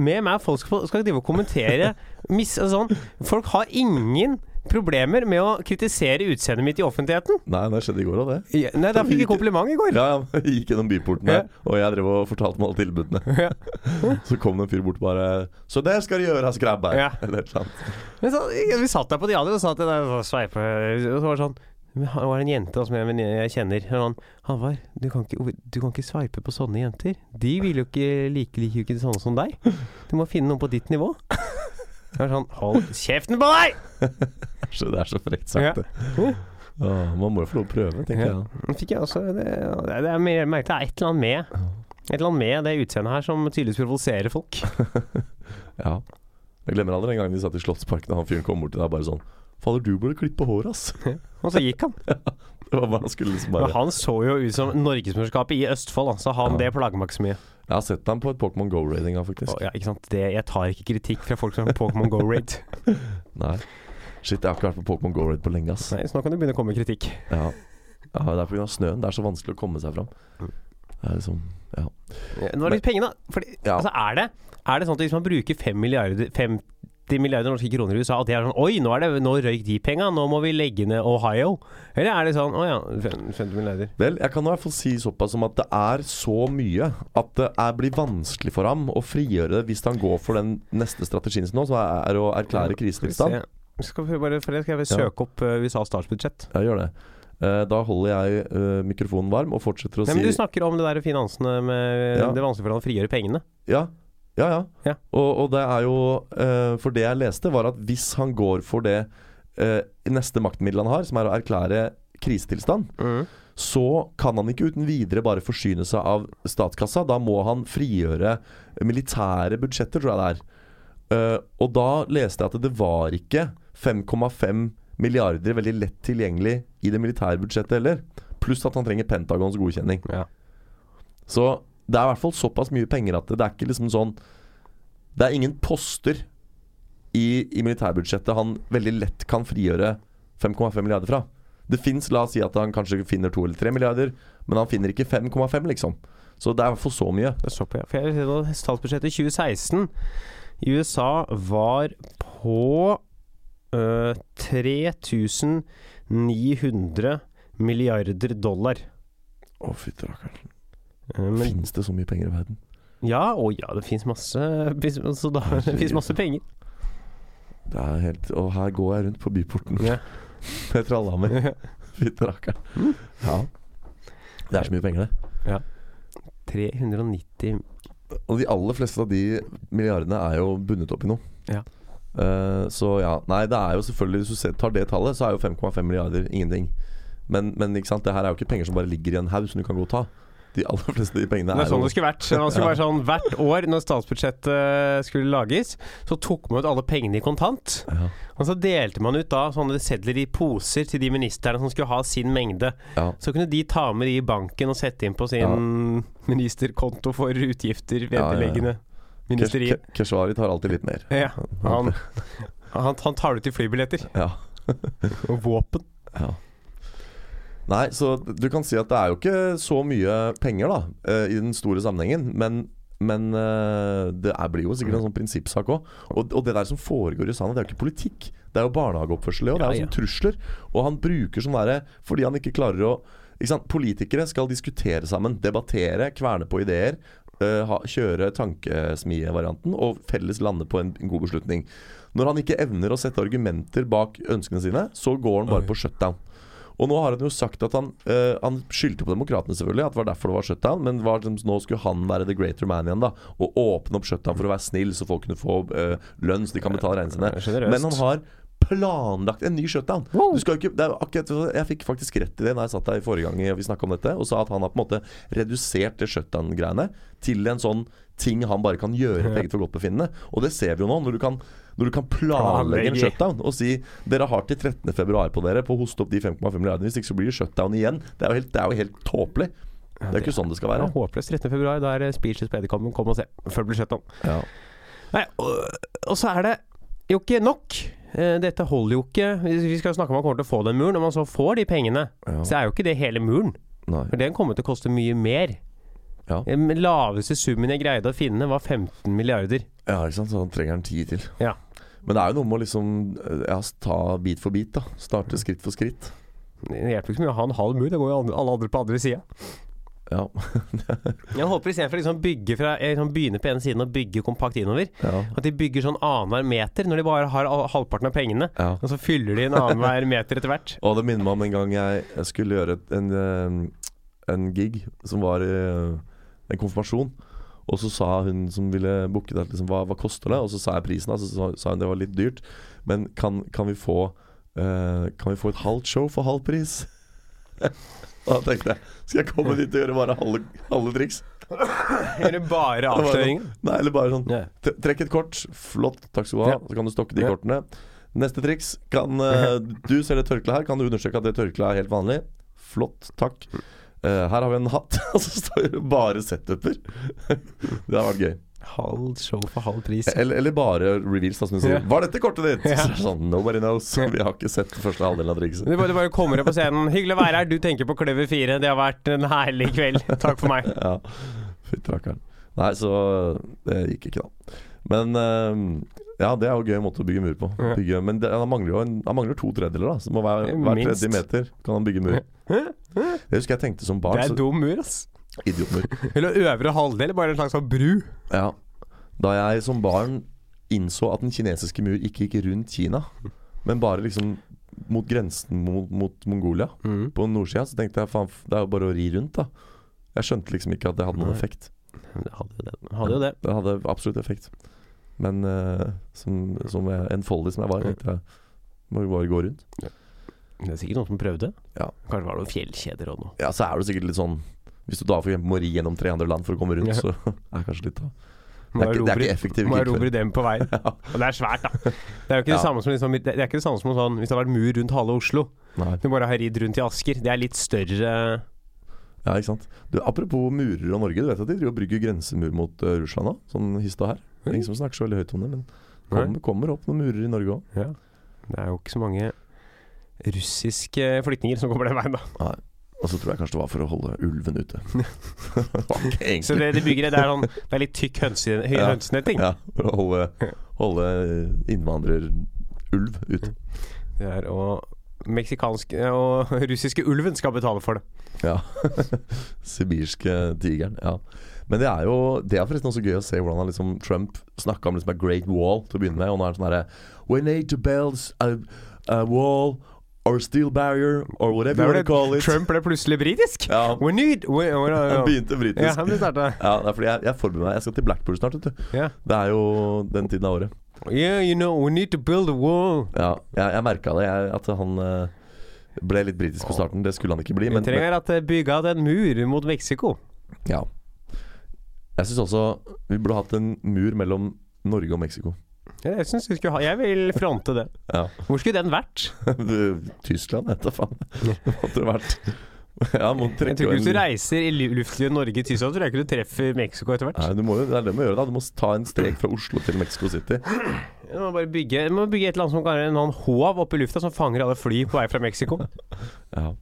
Med meg folk skal, skal drive og kommentere mis, altså sånn, Folk har ingen problemer med å kritisere utseendet mitt i offentligheten. Nei, det skjedde i går òg, det. Ja, Nei, da fikk jeg kompliment i går. Ja, [LAUGHS] ja, jeg gikk gjennom byporten her, og jeg drev og fortalte meg alle [LAUGHS] tilbudene. Ja. Så kom det en fyr bort og bare 'Så det skal du gjøre, skrabber', Ja. [LAUGHS] eller et eller annet. Men så, vi satt der på Diadio og sa at det der var sveipe Og så var det sånn men han var en jente som jeg, jeg kjenner. Og han, Halvard, du, kan ikke- du kan ikke sveipe på sånne jenter. De vil jo ikke like liker jo ikke sånne som deg. Du må finne noen på ditt nivå. Jeg var sånn Hold kjeften på deg! Så det er så frekt Ja. sagt, det. Åh, man må jo få lov å prøve, tenker Ja. jeg. Nå Fikk jeg også Det, det er mer, jeg merket det er et eller annet med Et eller annet med det utseendet her som tydeligvis provoserer folk. Ja. Jeg glemmer aldri den gangen vi satt i Slottsparken og han fyren kom bort til deg og bare sånn Fader, du burde klippe håret, ass. [LAUGHS] Og så gikk han. Det var bare, han skulle liksom Men bare han så jo ut som Norgesmesterskapet i Østfold, da, så han Ja. det plager meg ikke så mye. Jeg har sett ham på et Pokémon Go-rating, faktisk. Å, ja, ikke sant? Det, jeg tar ikke kritikk fra folk som har Pokémon Go Raid. Nei. Shit, jeg har ikke vært på Pokémon Go-raid på lenge, ass. Nei, [LAUGHS] så nå kan det begynne å komme kritikk. Ja. ja, det er pga. snøen. Det er så vanskelig å komme seg fram. Det er liksom Ja. Nå er det litt pengene, da. Fordi, Ja. altså, er, det, er det sånn at hvis man bruker 5 milliarder, 50 milliarder norske kroner i USA, og det er sånn Oi, nå, er det, nå røyk de penga, nå må vi legge ned Ohio. Eller er det sånn Å ja, fem- 50 milliarder. Vel, jeg kan i hvert fall si såpass som at det er så mye at det er, blir vanskelig for ham å frigjøre det hvis han går for den neste strategien sin nå, som er å erklære Skal vi krisetilstand. se. Skal vi bare, for det skal jeg Ja. søke opp eh, USAs statsbudsjett. Ja, gjør det. Eh, Da holder jeg eh, mikrofonen varm og fortsetter å Nei, men Du si snakker om det der finansene med Ja. Det er vanskelig for han å frigjøre pengene. Ja, ja. ja. Ja. Og, og det er jo eh, For det jeg leste, var at hvis han går for det eh, neste maktmiddel han har, som er å erklære krisetilstand, Mm. så kan han ikke uten videre bare forsyne seg av statskassa. Da må han frigjøre militære budsjetter, tror jeg det er. Eh, og da leste jeg at det var ikke 5,5 milliarder veldig lett tilgjengelig i det militære budsjettet heller. Pluss at han trenger Pentagons godkjenning. Ja. Så det er i hvert fall såpass mye penger at det, det er ikke liksom sånn Det er ingen poster i, i militærbudsjettet han veldig lett kan frigjøre 5,5 milliarder fra. Det fins, la oss si at han kanskje finner 2 eller 3 milliarder, men han finner ikke 5,5, liksom. Så det er i hvert fall så mye. Det står på, ja. For jeg ser at statsbudsjettet i 2016 i USA var på øh, 3900 milliarder dollar. Å, fytti rakkeren. Eh, Men, Fins det så mye penger i verden? ja, å ja, det fins masse, [LAUGHS] fins- altså, da- det finnes masse [LAUGHS] penger. Det er helt Og her går jeg rundt på byporten Ja. [LAUGHS] med tralla [LAUGHS] mi. Fytti rakkeren. Ja. Det er så mye penger, det. 390 Og de aller fleste av de milliardene er jo bundet opp i noe. Ja. Eh, så ja. Nei, det er jo selvfølgelig Hvis du ser- tar det tallet, så er jo 5,5 milliarder ingenting. Men, men ikke sant? det her er jo ikke penger som bare ligger i en haug som du kan gå og ta. De aller fleste av de pengene Det er er sånn jo det skulle vært. Man [LAUGHS] skulle være sånn Hvert år når statsbudsjettet skulle lages, så tok man ut alle pengene i kontant. ja, Og så delte man ut da sånne sedler i poser til de ministerne som skulle ha sin mengde. ja. Så kunne de ta med de i banken og sette inn på sin ministerkonto for utgifter ja, ja. vederleggende ministeriet. Ke- Keshvari tar alltid litt mer. Ja. Han, han, han tar det ut i flybilletter. Ja. Og våpen. Ja. Nei, så du kan si at det er jo ikke så mye penger da, eh, i den store sammenhengen. Men, men eh, det er, blir jo sikkert en sånn prinsippsak òg. Og, og det der som foregår i USA nå, det er jo ikke politikk. Det er jo barnehageoppførsel i år. Det er Ja, jo ja. sånn trusler. Og han bruker sånn derre fordi han ikke klarer å ikke sant? Politikere skal diskutere sammen, debattere, kverne på ideer. eh, ha, kjøre tankesmievarianten og felles lande på en, en god beslutning. Når han ikke evner å sette argumenter bak ønskene sine, så går han bare på shutdown. Og nå har han jo sagt at han eh, Han skyldte på demokratene, selvfølgelig, at det var derfor det var shutdown. Men var, det- nå skulle han være the greater man igjen, da. Og åpne opp shutdown for å være snill, så folk kunne få eh, lønn, så de kan betale regningene Det er sine. generøst. Men han har planlagt en ny shutdown. Du skal jo ikke, det er jo akkurat, jeg fikk faktisk rett i det når jeg satt der forrige gang vi snakka om dette, og sa at han har på en måte redusert det shutdown-greiene til en sånn ting han bare kan gjøre på eget forgodtbefinnende. Og det ser vi jo nå, når du kan, når du kan planlegge en Planlegge. shutdown og si dere har til 13. februar på dere på å hoste opp de 5,5 milliardene, hvis ikke så blir det shutdown igjen. Det er jo helt, det er jo helt tåpelig. Det er jo ikke sånn det skal Det være. er håpløst 13. februar. Da er det speeches på Edderkoppen. Kom og se. Før det blir shutdown. Ja. Nei, og, og så er det jo ikke nok. Eh, Dette holder jo ikke. Vi vi skal jo snakke om man kommer til å få den muren. Når man så får de pengene, så Ja. er jo ikke det hele muren. Nei. For den kommer til å koste mye mer. Ja. Den laveste summen jeg greide å finne, var 15 milliarder. Ja, ikke sant? så han trenger han ti til. Ja. Men det er jo noe med å liksom eh, ja, ta bit for bit. da Starte skritt for skritt. Det hjelper ikke så mye å ha en halv mur. Det går jo andre- alle andre på andre sida. Ja. Jeg håper istedenfor å liksom bygge fra- eh, liksom begynne på ene siden og bygge kompakt innover, [LAUGHS] ja. at de bygger sånn annenhver meter når de bare har all- halvparten av pengene. ja. Og så fyller de en annenhver meter etter hvert. Og det minner meg om en gang jeg, jeg skulle gjøre et, en, eh, en gig som var eh, en konfirmasjon. Og så sa hun som ville booke det, at liksom, hva, hva koster det? Og så sa jeg prisen, og så sa- sa hun det var litt dyrt. Men kan, kan, vi få, eh, kan vi få et halvt show for halv pris? [LAUGHS] Og da tenkte jeg skal jeg komme dit og gjøre bare halve, halve triks? Eller bare Det var jo- avsløringen. Nei, eller bare sånn Ja. T- Trekk et kort. Flott, takk skal du ha. Ja. Så kan du stokke de Ja. kortene. Neste triks. Kan, [LAUGHS] eh, du ser det tørkleet her. Kan du undersøke at det tørkleet er helt vanlig? Flott, takk. Mm. Eh, her har vi en hatt, [LAUGHS] og så står det bare setuper. [LAUGHS] det har vært gøy. Halv show for halv pris. Eller, eller bare reveals, da, som du sier. Ja. Var dette kortet ditt? Ja. Så er det sånn, Nobody knows. Vi har ikke sett den første halvdelen av trikset. Du bare, du bare kommer opp på scenen. 'Hyggelig å være her, du tenker på Kløver 4'. Det har vært en herlig [LAUGHS] kveld. Takk for meg. Ja, fytti rakkeren. Nei, så det gikk ikke, da. Men eh, ja, det er jo gøy måte å bygge mur på. Ja. Bygge, men det, han mangler jo en, han mangler to tredjedeler, da. Så det må hver, hver Minst. tredje meter kan han bygge mur. Det husker jeg tenkte som barn. Det er Så, dum mur, ass. idiotmur. Eller øvre halvdel, bare en slags sånn bru. Ja. Da jeg som barn innså at den kinesiske mur ikke gikk rundt Kina, men bare liksom mot grensen mot, mot Mongolia, Mm. på nordsida, så tenkte jeg faen, det er jo bare å ri rundt, da. Jeg skjønte liksom ikke at det hadde noen Nei. effekt. Det hadde jo det. Hadde jo det. Det hadde absolutt effekt. Men eh, som, som jeg, enfoldig som jeg var, tenkte jeg må jo bare gå rundt. Det er sikkert noen som prøvde. Ja. Kanskje var det noen fjellkjeder og noe. Ja, så [LAUGHS] er det sikkert litt sånn Hvis du da for eksempel må ri gjennom tre andre land for å komme rundt, Ja. så er det kanskje litt av Det er ikke- det er ikke effektiv Må krigføring. erobre dem på [LAUGHS] veien. Og det er svært, da. Det er jo ikke det Ja. samme som, liksom, det er ikke det samme som sånn, hvis det hadde vært mur rundt halve Oslo. Nei. Du bare har ridd rundt i Asker. Det er litt større Ja, ikke sant? Du, apropos murer og Norge. Du vet at de driver og brygger grensemur mot eh, Russland nå? Sånn hist og her. Det er Ingen som snakker så veldig høyt om det, men kommer, kommer opp noen murer i Norge òg. ja. Det er jo ikke så mange russiske flyktninger som kommer den veien, da. Og så tror jeg kanskje det var for å holde ulven [LAUGHS] ute. det var ikke Så egentlig det de bygger, det er, sånn, det er litt tykk hønse, høy Ja. hønsenetting. [LAUGHS] ja, For å holde, holde innvandrerulv ute. Mm. Det er å Meksikanske og russiske ulven skal betale for det. Ja. [LAUGHS] Sibirske tigeren. Ja. Men det er jo Det er forresten også gøy å se hvordan han liksom Trump snakka om liksom en great wall til å begynne med, og nå er det sånn herre We need to build a, a wall or steel barrier or whatever you Der want ble, to call it. Trump ble plutselig britisk! Ja, We need we, we, han begynte britisk. Ja, Ja, han ble starta. det er fordi jeg, jeg forbereder meg. Jeg skal til Blackpool snart, vet du. Ja. Det er jo den tiden av året. Yeah, you know, we need to build a wall. Ja, jeg, jeg merka det, jeg, at han eh, ble litt britisk på starten. Det skulle han ikke bli. Vi Men, men trenger at det bygger en mur mot Mexico. Ja. Jeg syns også vi burde hatt en mur mellom Norge og Mexico. [LAUGHS] Ja, Jeg, synes vi skulle ha, jeg vil fronte det. Ja. Hvor skulle den vært? Du, Tyskland, vet du faen. [LAUGHS] Det måtte det vært. Ja, må Jeg trekke tror ikke Hvis du en- reiser i lu- luftlinje Norge i Tyskland, tror jeg ikke du treffer Mexico etter hvert. Nei, du må jo, det er det du må gjøre. da Du må ta en strek fra Oslo til Mexico City. Du må bare bygge, du må bygge et eller annet som kan være en annen håv oppe i lufta som fanger alle fly på vei fra Mexico. Ja.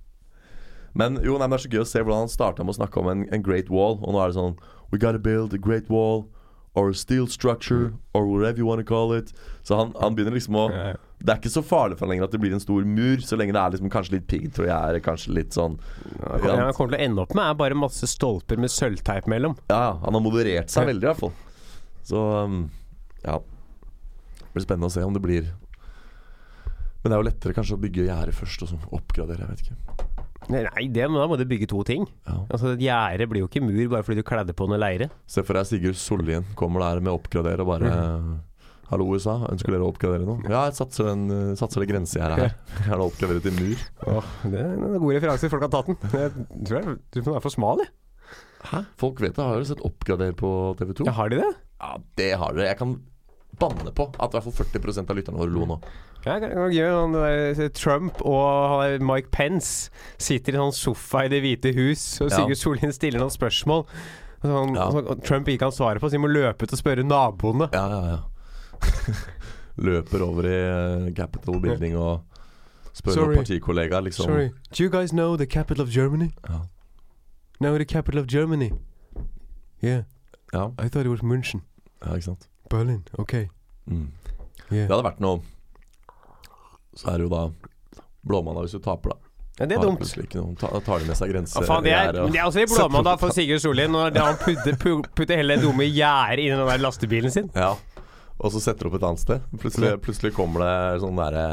Men jo, nei, men det er så gøy å se hvordan han starta med å snakke om en, en great wall, og nå er det sånn We gotta build a great wall or a steel structure or whatever you wanna call it. Så han, han begynner liksom å Ja, ja. Det er ikke så farlig for han lenger at det blir en stor mur, så lenge det er liksom kanskje litt piggtrådgjerder, kanskje litt sånn Ja, Det han kommer til å ende opp med, er bare masse stolper med sølvteip mellom. Ja, ja, han har moderert seg veldig i hvert fall. Så um, ja. Det blir spennende å se om det blir Men det er jo lettere kanskje å bygge gjerde først, og så oppgradere. Jeg vet ikke. Nei, det, men da må du bygge to ting. Ja. Altså, Et gjerde blir jo ikke mur bare fordi du kledde på noe leire. Se for deg Sigurd Sollien kommer der med å oppgradere og bare Mm. Hallo, USA, ønsker dere å oppgradere noe? Ja, jeg satser, en, eh, satser det grensegjerdet her. Jeg har da oppgradert til mur. det er en god referanse, folk har tatt den. Jeg tror jeg, du er for smal, jeg. Hæ? Folk vet det. Har dere sett Oppgrader på TV 2? Ja, har de det? Ja, det har dere. Jeg kan banne på at i hvert fall 40 av lytterne våre lo nå. Ja, det er gøy, han der eh, Trump og Mike Pence sitter i en sånn sofa i Det hvite hus, og Ja. Sigurd Sollien stiller noen spørsmål. og Sånn, Ja. som Trump ikke kan svare på, så de må løpe ut og spørre naboene. Ja, ja, [LAUGHS] ja. Løper over i eh, Capitol Building og spør Sorry. noen partikollegaer, liksom. Sorry, do you guys know the capital of Germany? Ja. No, the capital of Germany. Yeah, Ja, I thought it was München. ja, ikke sant. Berlin, ok. Mm. Yeah. Det hadde vært noe Så er det jo da blåmandag hvis du taper, da. Ja, det er Har dumt. plutselig ikke noen. Ta, tar de med seg Ja, grenser? faen, eh, det, er, og- det er også litt [LAUGHS] blåmandag for Sigurd Sollien når det- han putter, pu- putter hele det dumme gjerdet inn i den der lastebilen sin. Ja. Og så setter du opp et annet sted. Plutselig, plutselig kommer det sånn derre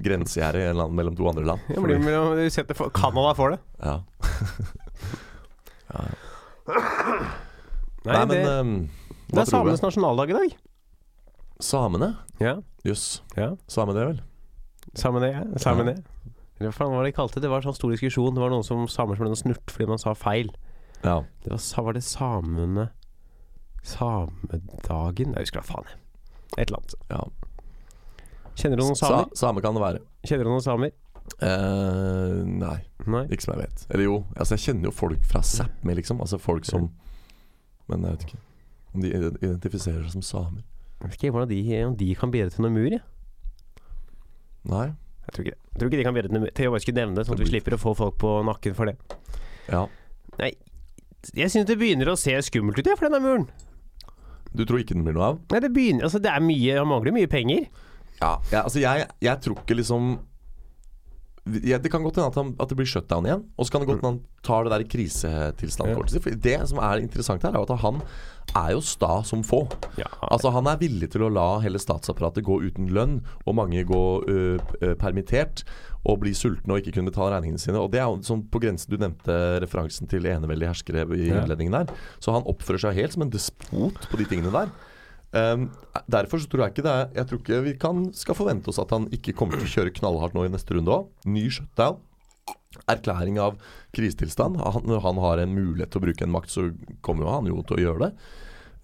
grensegjerde i en eller annen- mellom to andre land. Det blir mellom- Du setter for- Canada for det. Ja. Nei, Nei, det, men ehm, det hva er tror du? samenes nasjonaldag i dag. Samene? Ja. Jøss. ja. Same det, vel? Sammen det, ja. Sammen det. Eller hva faen var det de kalte det? Det var en sånn stor diskusjon. Det var noen som samer som ble noe snurt fordi man sa feil. Ja. Det var, sa- var det samene Samedagen? Jeg husker da faen, jeg. Et eller annet. ja. Kjenner du noen Sa, samer? same kan det være. Kjenner du noen samer? Eh, nei, Nei. ikke som jeg vet. Eller jo, altså jeg kjenner jo folk fra Sápmi, liksom. Altså folk som Men jeg vet ikke om de ide- identifiserer seg som samer. Jeg vet ikke hvordan de, om de kan bidra til noe mur, jeg. Nei. Jeg tror ikke det. Jeg tror ikke de kan bidra til noe mur. Jeg bare skulle nevne det, sånn at vi slipper å få folk på nakken for det. Ja. Jeg syns det begynner å se skummelt ut, jeg, for denne muren. Du tror ikke den blir noe av? Nei, det begynner Altså, det er mye Han mangler mye penger. Ja. Jeg, altså jeg, jeg tror ikke liksom jeg, det kan godt hende at, han, at det blir shutdown igjen. Og så kan det godt hende han tar det der i krisetilstandskortet. For Det som er interessant her, er jo at han er jo sta som få. Ja. Altså Han er villig til å la hele statsapparatet gå uten lønn, og mange gå ø, ø, permittert og bli sultne og ikke kunne betale regningene sine. Og det er jo sånn på grensen Du nevnte referansen til eneveldige herskere i Ja. innledningen der. Så han oppfører seg helt som en despot på de tingene der. Ehm, derfor så tror jeg ikke det er Jeg tror ikke vi kan, skal forvente oss at han ikke kommer til å kjøre knallhardt nå i neste runde òg. Ny shutdown. Erklæring av krisetilstand. Han, når han har en mulighet til å bruke en makt, så kommer jo han jo til å gjøre det.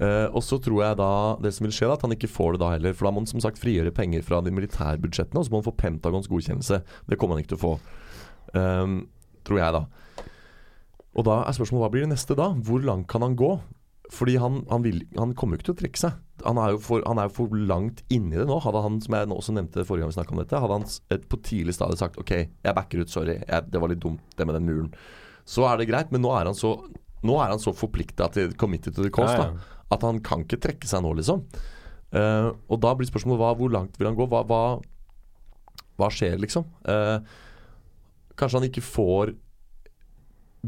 Eh, og så tror jeg da det som vil skje, da, at han ikke får det da heller. For da må han som sagt frigjøre penger fra de militærbudsjettene, og så må han få Pentagons godkjennelse. Det kommer han ikke til å få. Ehm, tror jeg, da. Og da er spørsmålet hva blir det neste da? Hvor langt kan han gå? Fordi han, han, vil, han kommer jo ikke til å trekke seg. Han er jo for, han er jo for langt inni det nå. Hadde han, som jeg nå også nevnte forrige gang vi snakket om dette, hadde han s- et, på tidlig stadium sagt OK, jeg backer ut, sorry, jeg, det var litt dumt det med den muren. Så er det greit, men nå er han så Nå er han så forplikta til committed to the cause Ja, ja. da, at han kan ikke trekke seg nå, liksom. Eh, og da blir spørsmålet hva, hvor langt vil han gå? Hva, hva, hva skjer, liksom? Eh, kanskje han ikke får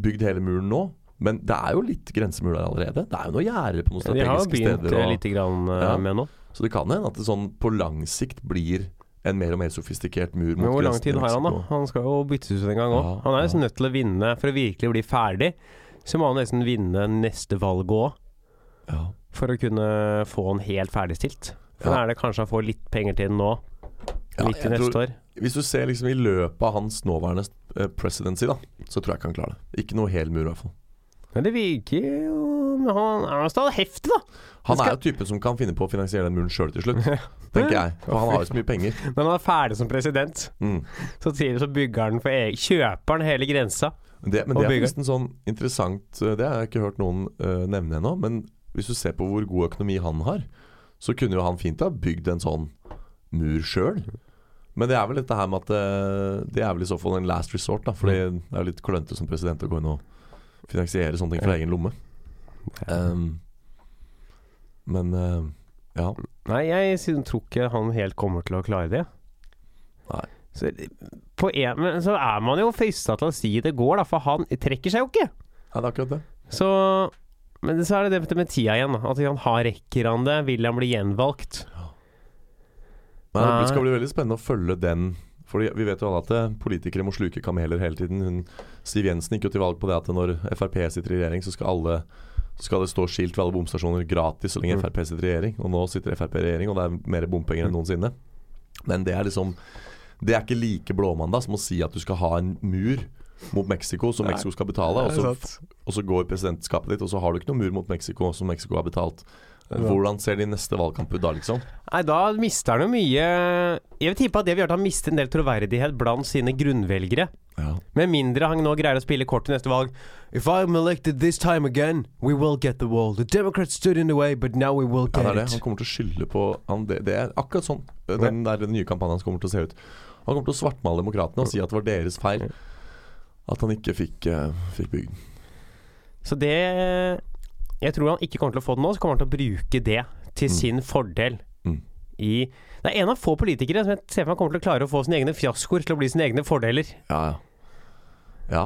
bygd hele muren nå, men det er jo litt grensemur der allerede. Det er jo noen gjerder på noen De har jo strategiske begynt steder. eh, Og, lite grann eh, Ja. med nå. så det kan hende at det sånn på lang sikt blir en mer og mer sofistikert mur mot liksom. Men hvor lang grensen tid til har han, da? Mexico. Han skal jo byttes ut en gang òg. Ja, Han er ja. jo nødt til å vinne for å virkelig bli ferdig. Så må han nesten vinne neste valg òg, Ja. for å kunne få han helt ferdigstilt. For Ja. da er det kanskje han får litt penger til den nå, Ja, midt i jeg neste tror- år. Hvis du ser liksom i løpet av hans nåværende eh, presidency, da, så tror jeg ikke han klarer det. Ikke noe hel mur, i hvert fall. Men det virker jo Men han er jo stadig heftig, da. Han skal- er jo typen som kan finne på å finansiere den muren sjøl [LAUGHS] til slutt, tenker jeg. For han har jo så mye penger. Når han er ferdig som president, Mm. så tidlig så bygger han for egen Kjøper han hele grensa. Det, men Og det er bygge. nesten sånn interessant eh, Det har jeg ikke hørt noen eh, nevne ennå. Men hvis du ser på hvor god økonomi han har, så kunne jo han fint ha bygd en sånn mur sjøl. Men det er vel dette her med at eh, det er vel i så fall en last resort, da. Fordi det er jo litt klønete som president å gå inn og finansiere sånne ting fra egen lomme. Ehm, men eh, ja. Nei, jeg syn- tror ikke han helt kommer til å klare det. Nei. Så, på en, men så er man jo frista til å si det går, da, for han trekker seg jo ikke. Ja, det er akkurat det. Så Men så er det det med tida igjen. da. At han har rekker han det? Vil han bli gjenvalgt? Men Nei. Det skal bli veldig spennende å følge den. Fordi Vi vet jo alle at eh, politikere må sluke kameler hele tiden. Hun, Siv Jensen gikk jo til valg på det at når Frp sitter i regjering, så skal, alle, så skal det stå skilt ved alle bomstasjoner gratis så lenge Mm. Frp sitter i regjering. Og nå sitter Frp i regjering, og det er mer bompenger enn noensinne. Men det er liksom Det er ikke like blåmandag som å si at du skal ha en mur mot Mexico som Nei. Mexico skal betale, og så, og så går presidentskapet ditt, og så har du ikke noen mur mot Mexico som Mexico har betalt. er sant. Hvordan ser de neste valgkamp ut da, liksom? Nei, da mister han jo mye Jeg vil tippe at det vil gjøre at han mister en del troverdighet blant sine grunnvelgere. Ja. Med mindre han nå greier å spille kort i neste valg. If I'm elected this time again, we will get the wall. The Democrats stood in the way, but now we will get Ja, det er det. Han it. kommer til å skylde på han, det, det er akkurat sånn den, der, den nye kampanjen hans kommer til å se ut. Han kommer til å svartmale demokratene og si at det var deres feil at han ikke fikk, eh, fikk bygd den. Så det Jeg tror han ikke kommer til å få det nå, så kommer han til å bruke det til sin fordel. Mm. I Det er en av få politikere som jeg ser for meg kommer til å klare å få sine egne fiaskoer til å bli sine egne fordeler. Ja, ja. ja.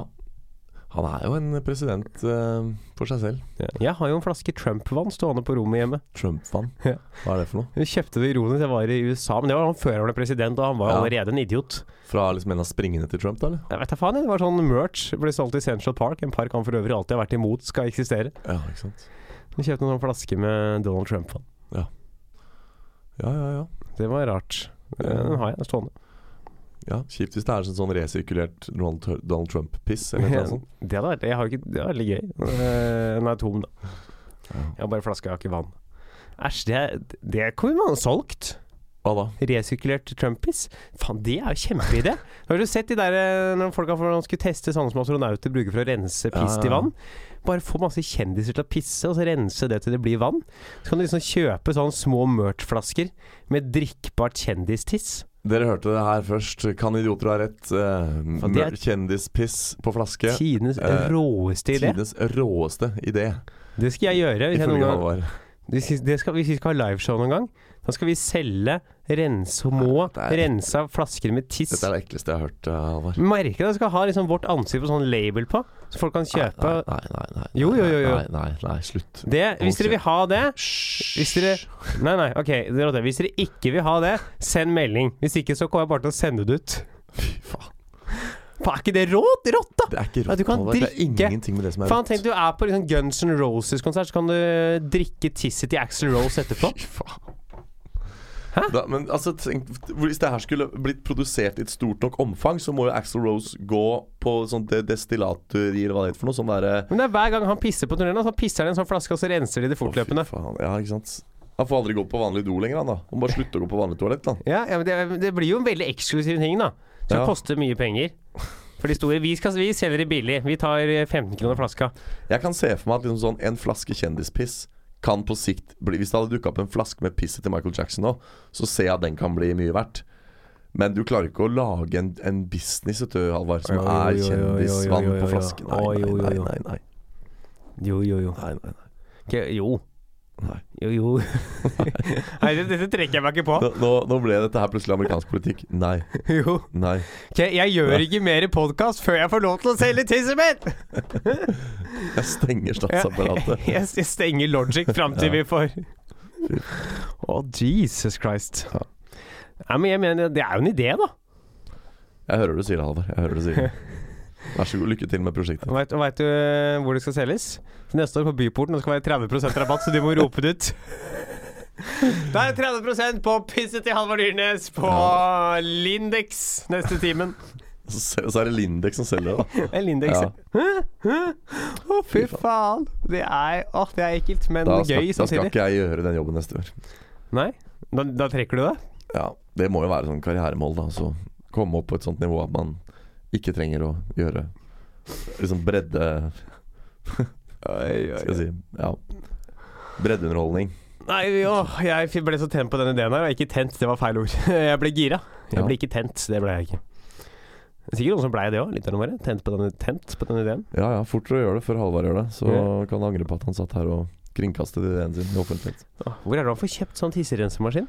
Han er jo en president eh, for seg selv. Jeg har jo en flaske Trump-vann stående på rommet hjemme. Trump-fan. Ja. Hva er det for noe? Jeg kjøpte det ironisk, jeg var i USA, men det var han før han ble president, og han var jo Ja. allerede en idiot. Fra liksom en av springene til Trump, da? eller? Jeg vet da faen, jeg, det var sånn merch. Ble solgt i Central Park, en park han for øvrig alltid har vært imot skal eksistere. Ja, ikke sant. Vi kjøpte noen flasker med Donald Trump på. Ja, ja, ja. Det var rart. Ja. Den har jeg den er stående. ja. Kjipt hvis det er sånn, sånn resirkulert Donald, Tur- Donald Trump-piss [LAUGHS] eller noe sånt. Det hadde vært, jeg har jo ikke, det hadde vært litt gøy. Eh, Den er tom, da. Ja. Jeg har bare flaske, jeg har ikke vann. Æsj, det, er- det kunne man ha solgt. Hva da? Resirkulert Trumpis. Faen, det er jo [LAUGHS] kjempeidé. Har du sett de der eh, når folk har for- når de skulle teste sånne som astronauter bruker for å rense piss Ja, til ja. vann? Bare få masse kjendiser til å pisse, og så rense det til det blir vann. Så kan du liksom kjøpe sånne små merch-flasker med drikkbart kjendistiss. Dere hørte det her først. Kan idioter ha rett? Eh, Og det er- mør- Kjendispiss på flaske. Tidenes Eh, råeste idé. Tidenes råeste idé. Det skal jeg gjøre. Hvis, jeg noen Ifølge gang, Halvard. det skal, det skal, hvis vi skal ha liveshow noen gang, da skal vi selge rense, må Nei, det er- rensa flasker med tiss. Dette er det ekleste jeg har hørt, eh, Halvard. Merker du at det skal ha liksom vårt ansikt på sånn label på, så folk kan kjøpe Nei, nei, nei. nei, Jo, jo, jo, jo. Nei, nei, nei, slutt. det. Hvis dere vil ha det Hvis Hvis dere Nei, nei, ok. det er det. Hvis dere ikke vil ha det, send melding. Hvis ikke, så kommer jeg bare til å sende det ut. Fy faen. Faen, er ikke det rått? Rått, da! Det er ikke Ja, du rått. kan Halvard. Det er drikke. ingenting med det som er Faen, rått. tenk du er på liksom Guns N' Roses-konsert, så kan du drikke tisset til Axl Rose etterpå. Fy faen. Da, men altså, tenk, hvis det her skulle blitt produsert i et stort nok omfang, så må jo Axel Rose gå på sånn de destillatori, eller hva det heter for noe. Sånn derre Men det er hver gang han pisser på turneen, så pisser han i en sånn flaske, og så renser de det Å, fy fortløpende. faen. Ja, ikke sant. Han får aldri gå på vanlig do lenger, han da. Han må bare slutte å gå på vanlig toalett, da. Ja, ja men det, det blir jo en veldig eksklusiv ting, da. Som Ja. koster mye penger. For de store Vi, skal, vi selger det billig. Vi tar eh, 15 kroner flaska. Jeg kan se for meg at liksom sånn en flaske kjendispiss kan på sikt bli Hvis det hadde dukka opp en flaske med pisset til Michael Jackson nå, så ser jeg at den kan bli mye verdt. Men du klarer ikke å lage en, en business, vet du, Halvard, som Jo, jo, er jo, jo, jo, kjendisvann jo, jo, på jo. flaske. Nei, Å, jo, nei, jo, nei, jo. nei, nei, Jo, jo, jo. nei, nei, nei. Ok, jo. Nei. Jo, jo. [LAUGHS] Nei, det- dette trekker jeg meg ikke på. Nå, nå, nå ble dette her plutselig amerikansk politikk. Nei, [LAUGHS] Jo. nei. Ok, jeg gjør ikke mer podkast før jeg får lov til å selge tisset mitt! [LAUGHS] Jeg stenger Jeg, [LAUGHS] statsapparatet. jeg, jeg stenger logic fram til Ja. vi får Å, Jesus Christ. Ja. Nei, men jeg mener, det er jo en idé, da. Jeg hører du sier det, Halvard. Jeg hører du sier det. Vær så god, lykke til med prosjektet. Veit vet du eh, hvor det skal selges? Til Neste år på Byporten. Det skal være 30 rabatt, så du må rope det ut. [LAUGHS] Da er det 30 på pisset til Halvard Dyrnes på Lindex neste timen. Så, så er det Lindex som selger det, da. En Lindex. Ja. Hæ? Hæ? Å, fy faen. Det er, åh, det er ekkelt, men Da skal, gøy da skal samtidig. ikke jeg gjøre den jobben neste år. Nei? Da, da trekker du det? Ja, det må jo være sånn karrieremål, da. Så komme opp på et sånt nivå at man ikke trenger å gjøre liksom bredde [LAUGHS] Skal jeg si Ja. Breddeunderholdning. Nei, åh, jeg ble så tent på den ideen her. Og ikke tent, det var feil ord. [LAUGHS] Jeg ble gira. Jeg Ja. ble ikke tent, det ble jeg ikke. Det er sikkert noen som blei det òg, lytterne våre. Tent på den, tent på den ideen. Ja ja, fortere å gjøre det før Halvard gjør det. Så Ja. kan han angre på at han satt her og kringkastet ideen sin i offentlighet. Åh, Hvor er det han får kjøpt sånn tisserensemaskin?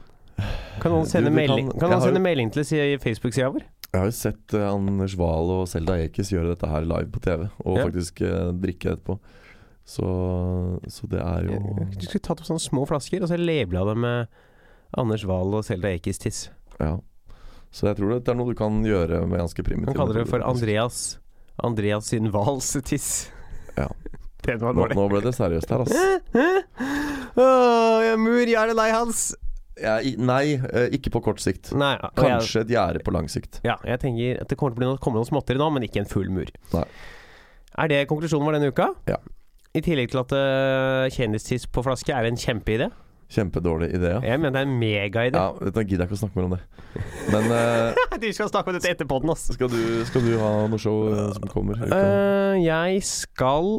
Kan noen Du, sende, du kan- melding, kan jeg noen har jo- sende melding til si- Facebook-sida vår? Jeg har jo sett eh, Anders Wahl og Selda Ekiz gjøre dette her live på TV, og Ja. faktisk eh, drikke etterpå. Så, så det er jo Du skulle tatt opp sånne små flasker, og så labela det med Anders Wahl og Selda Ekiz tiss. Ja. Så jeg tror det er noe du kan gjøre med ganske primitiv Han kaller det for metoder. Andreas Andreas sin Wahls tiss. [LAUGHS] Ja. Den var Nå, dårlig. nå ble det seriøst her, altså. [LAUGHS] Åh, jeg er mur, jeg er lei hans. Jeg, nei, eh, ikke på kort sikt. Nei, og Jeg, Kanskje et gjerde på lang sikt. ja, jeg tenker at det kommer til å bli noe, kommer noen småtteri nå, men ikke en full mur. Nei. Er det konklusjonen vår denne uka? Ja. I tillegg til at eh, kjendistiss på flaske er en kjempeidé. Kjempedårlig idé. Ja. Jeg mener det er en megaidé. [LAUGHS] Ja, vet du, nå gidder jeg ikke å snakke mer om det. Men eh, Du skal snakke om dette etterpå den, ass. skal, du, skal du ha noe show eh, som kommer? Uh, Eh, jeg skal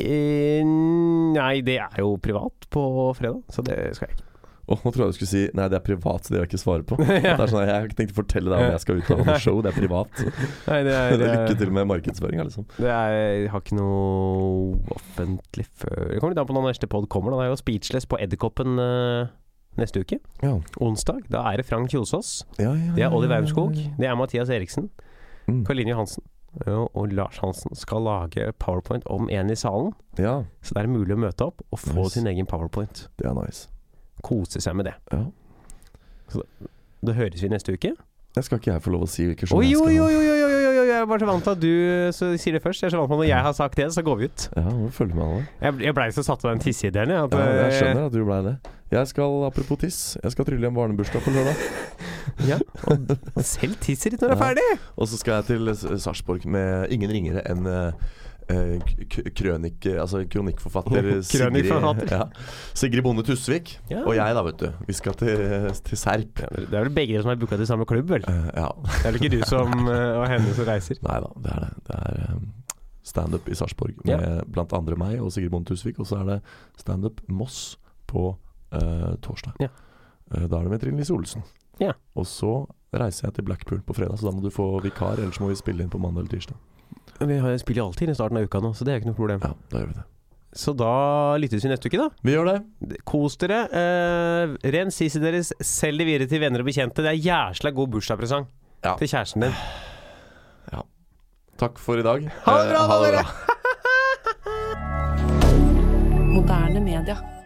eh, Nei, det er jo privat på fredag, så det skal jeg ikke. nå tror jeg du skulle si Nei, det er privat, så det vil jeg ikke [LAUGHS] svare på. [LAUGHS] At Det er sånn, Jeg tenkte å fortelle deg om jeg skal ut og ha noe show, det er privat. Nei, det er, [LAUGHS] Lykke til med markedsføringa, liksom. Det er, jeg har ikke noe offentlig før Det kommer litt an på når neste pod kommer. Da. Det er jo Speechless på Edderkoppen eh, neste uke. Ja. Onsdag. Da er det Frank Kjosås. Ja, ja, Det ja, er Olli ja, ja, Wermskog. ja. Det er Mathias Eriksen. Mm. Karoline Johansen. Og, og Lars Hansen skal lage powerpoint om en i salen. Ja, Så det er mulig å møte opp og få Nice. sin egen powerpoint. det er nice. Kose seg med det. Ja. Da høres vi neste uke. Jeg skal ikke jeg få lov å si hvilke show Oi, jeg oi, oi, skal ha. oi, oi, oi, oi, jeg er bare så vant til at du så sier det først. Jeg er så vant til at når jeg har sagt det, så går vi ut. Ja, må følge med, Halvard. Jeg, jeg blei så satt av den tisseideen. jeg, at, Ja, jeg eh, skjønner at du blei det. Jeg skal, apropos tiss, jeg skal trylle hjem barnebursdag på lørdag. Ja, eh, [LAUGHS] og selv tisser litt når det er Ja. ferdig. [LAUGHS] Og så skal jeg til S- Sarpsborg med ingen ringere enn eh, eh, k- krønik, altså [LAUGHS] kronikkforfatter Sigrid, Kronikkforfatter. ja, Sigrid Bonde Tusvik. Ja. Og jeg, da, vet du. Vi skal til, eh, til Serp. Det er vel begge dere som er booka til samme klubb, vel? Eh, ja. Det er vel ikke du [LAUGHS] som eh, og henne som reiser? Nei da, det er det. Det er eh, standup i Sarpsborg Ja. med blant andre meg og Sigrid Bonde Tusvik. Og så er det standup Moss på eh, torsdag. Ja. Eh, da er det med Trine Lise Olsen. Ja. Og så reiser jeg til Blackpool på fredag, så da må du få vikar. Ellers må vi spille inn på mandag eller tirsdag. Vi har- spiller jo alltid i starten av uka nå, så det er jo ikke noe problem. Ja, da gjør vi det. Så da lyttes vi neste uke, da. Vi gjør det. Kos dere. Eh, Rens tisset deres, selg det videre til venner og bekjente. Det er jæsla god bursdagspresang Ja. til kjæresten din. Takk for i dag. Ha det bra, Eh, da, dere! Moderne media.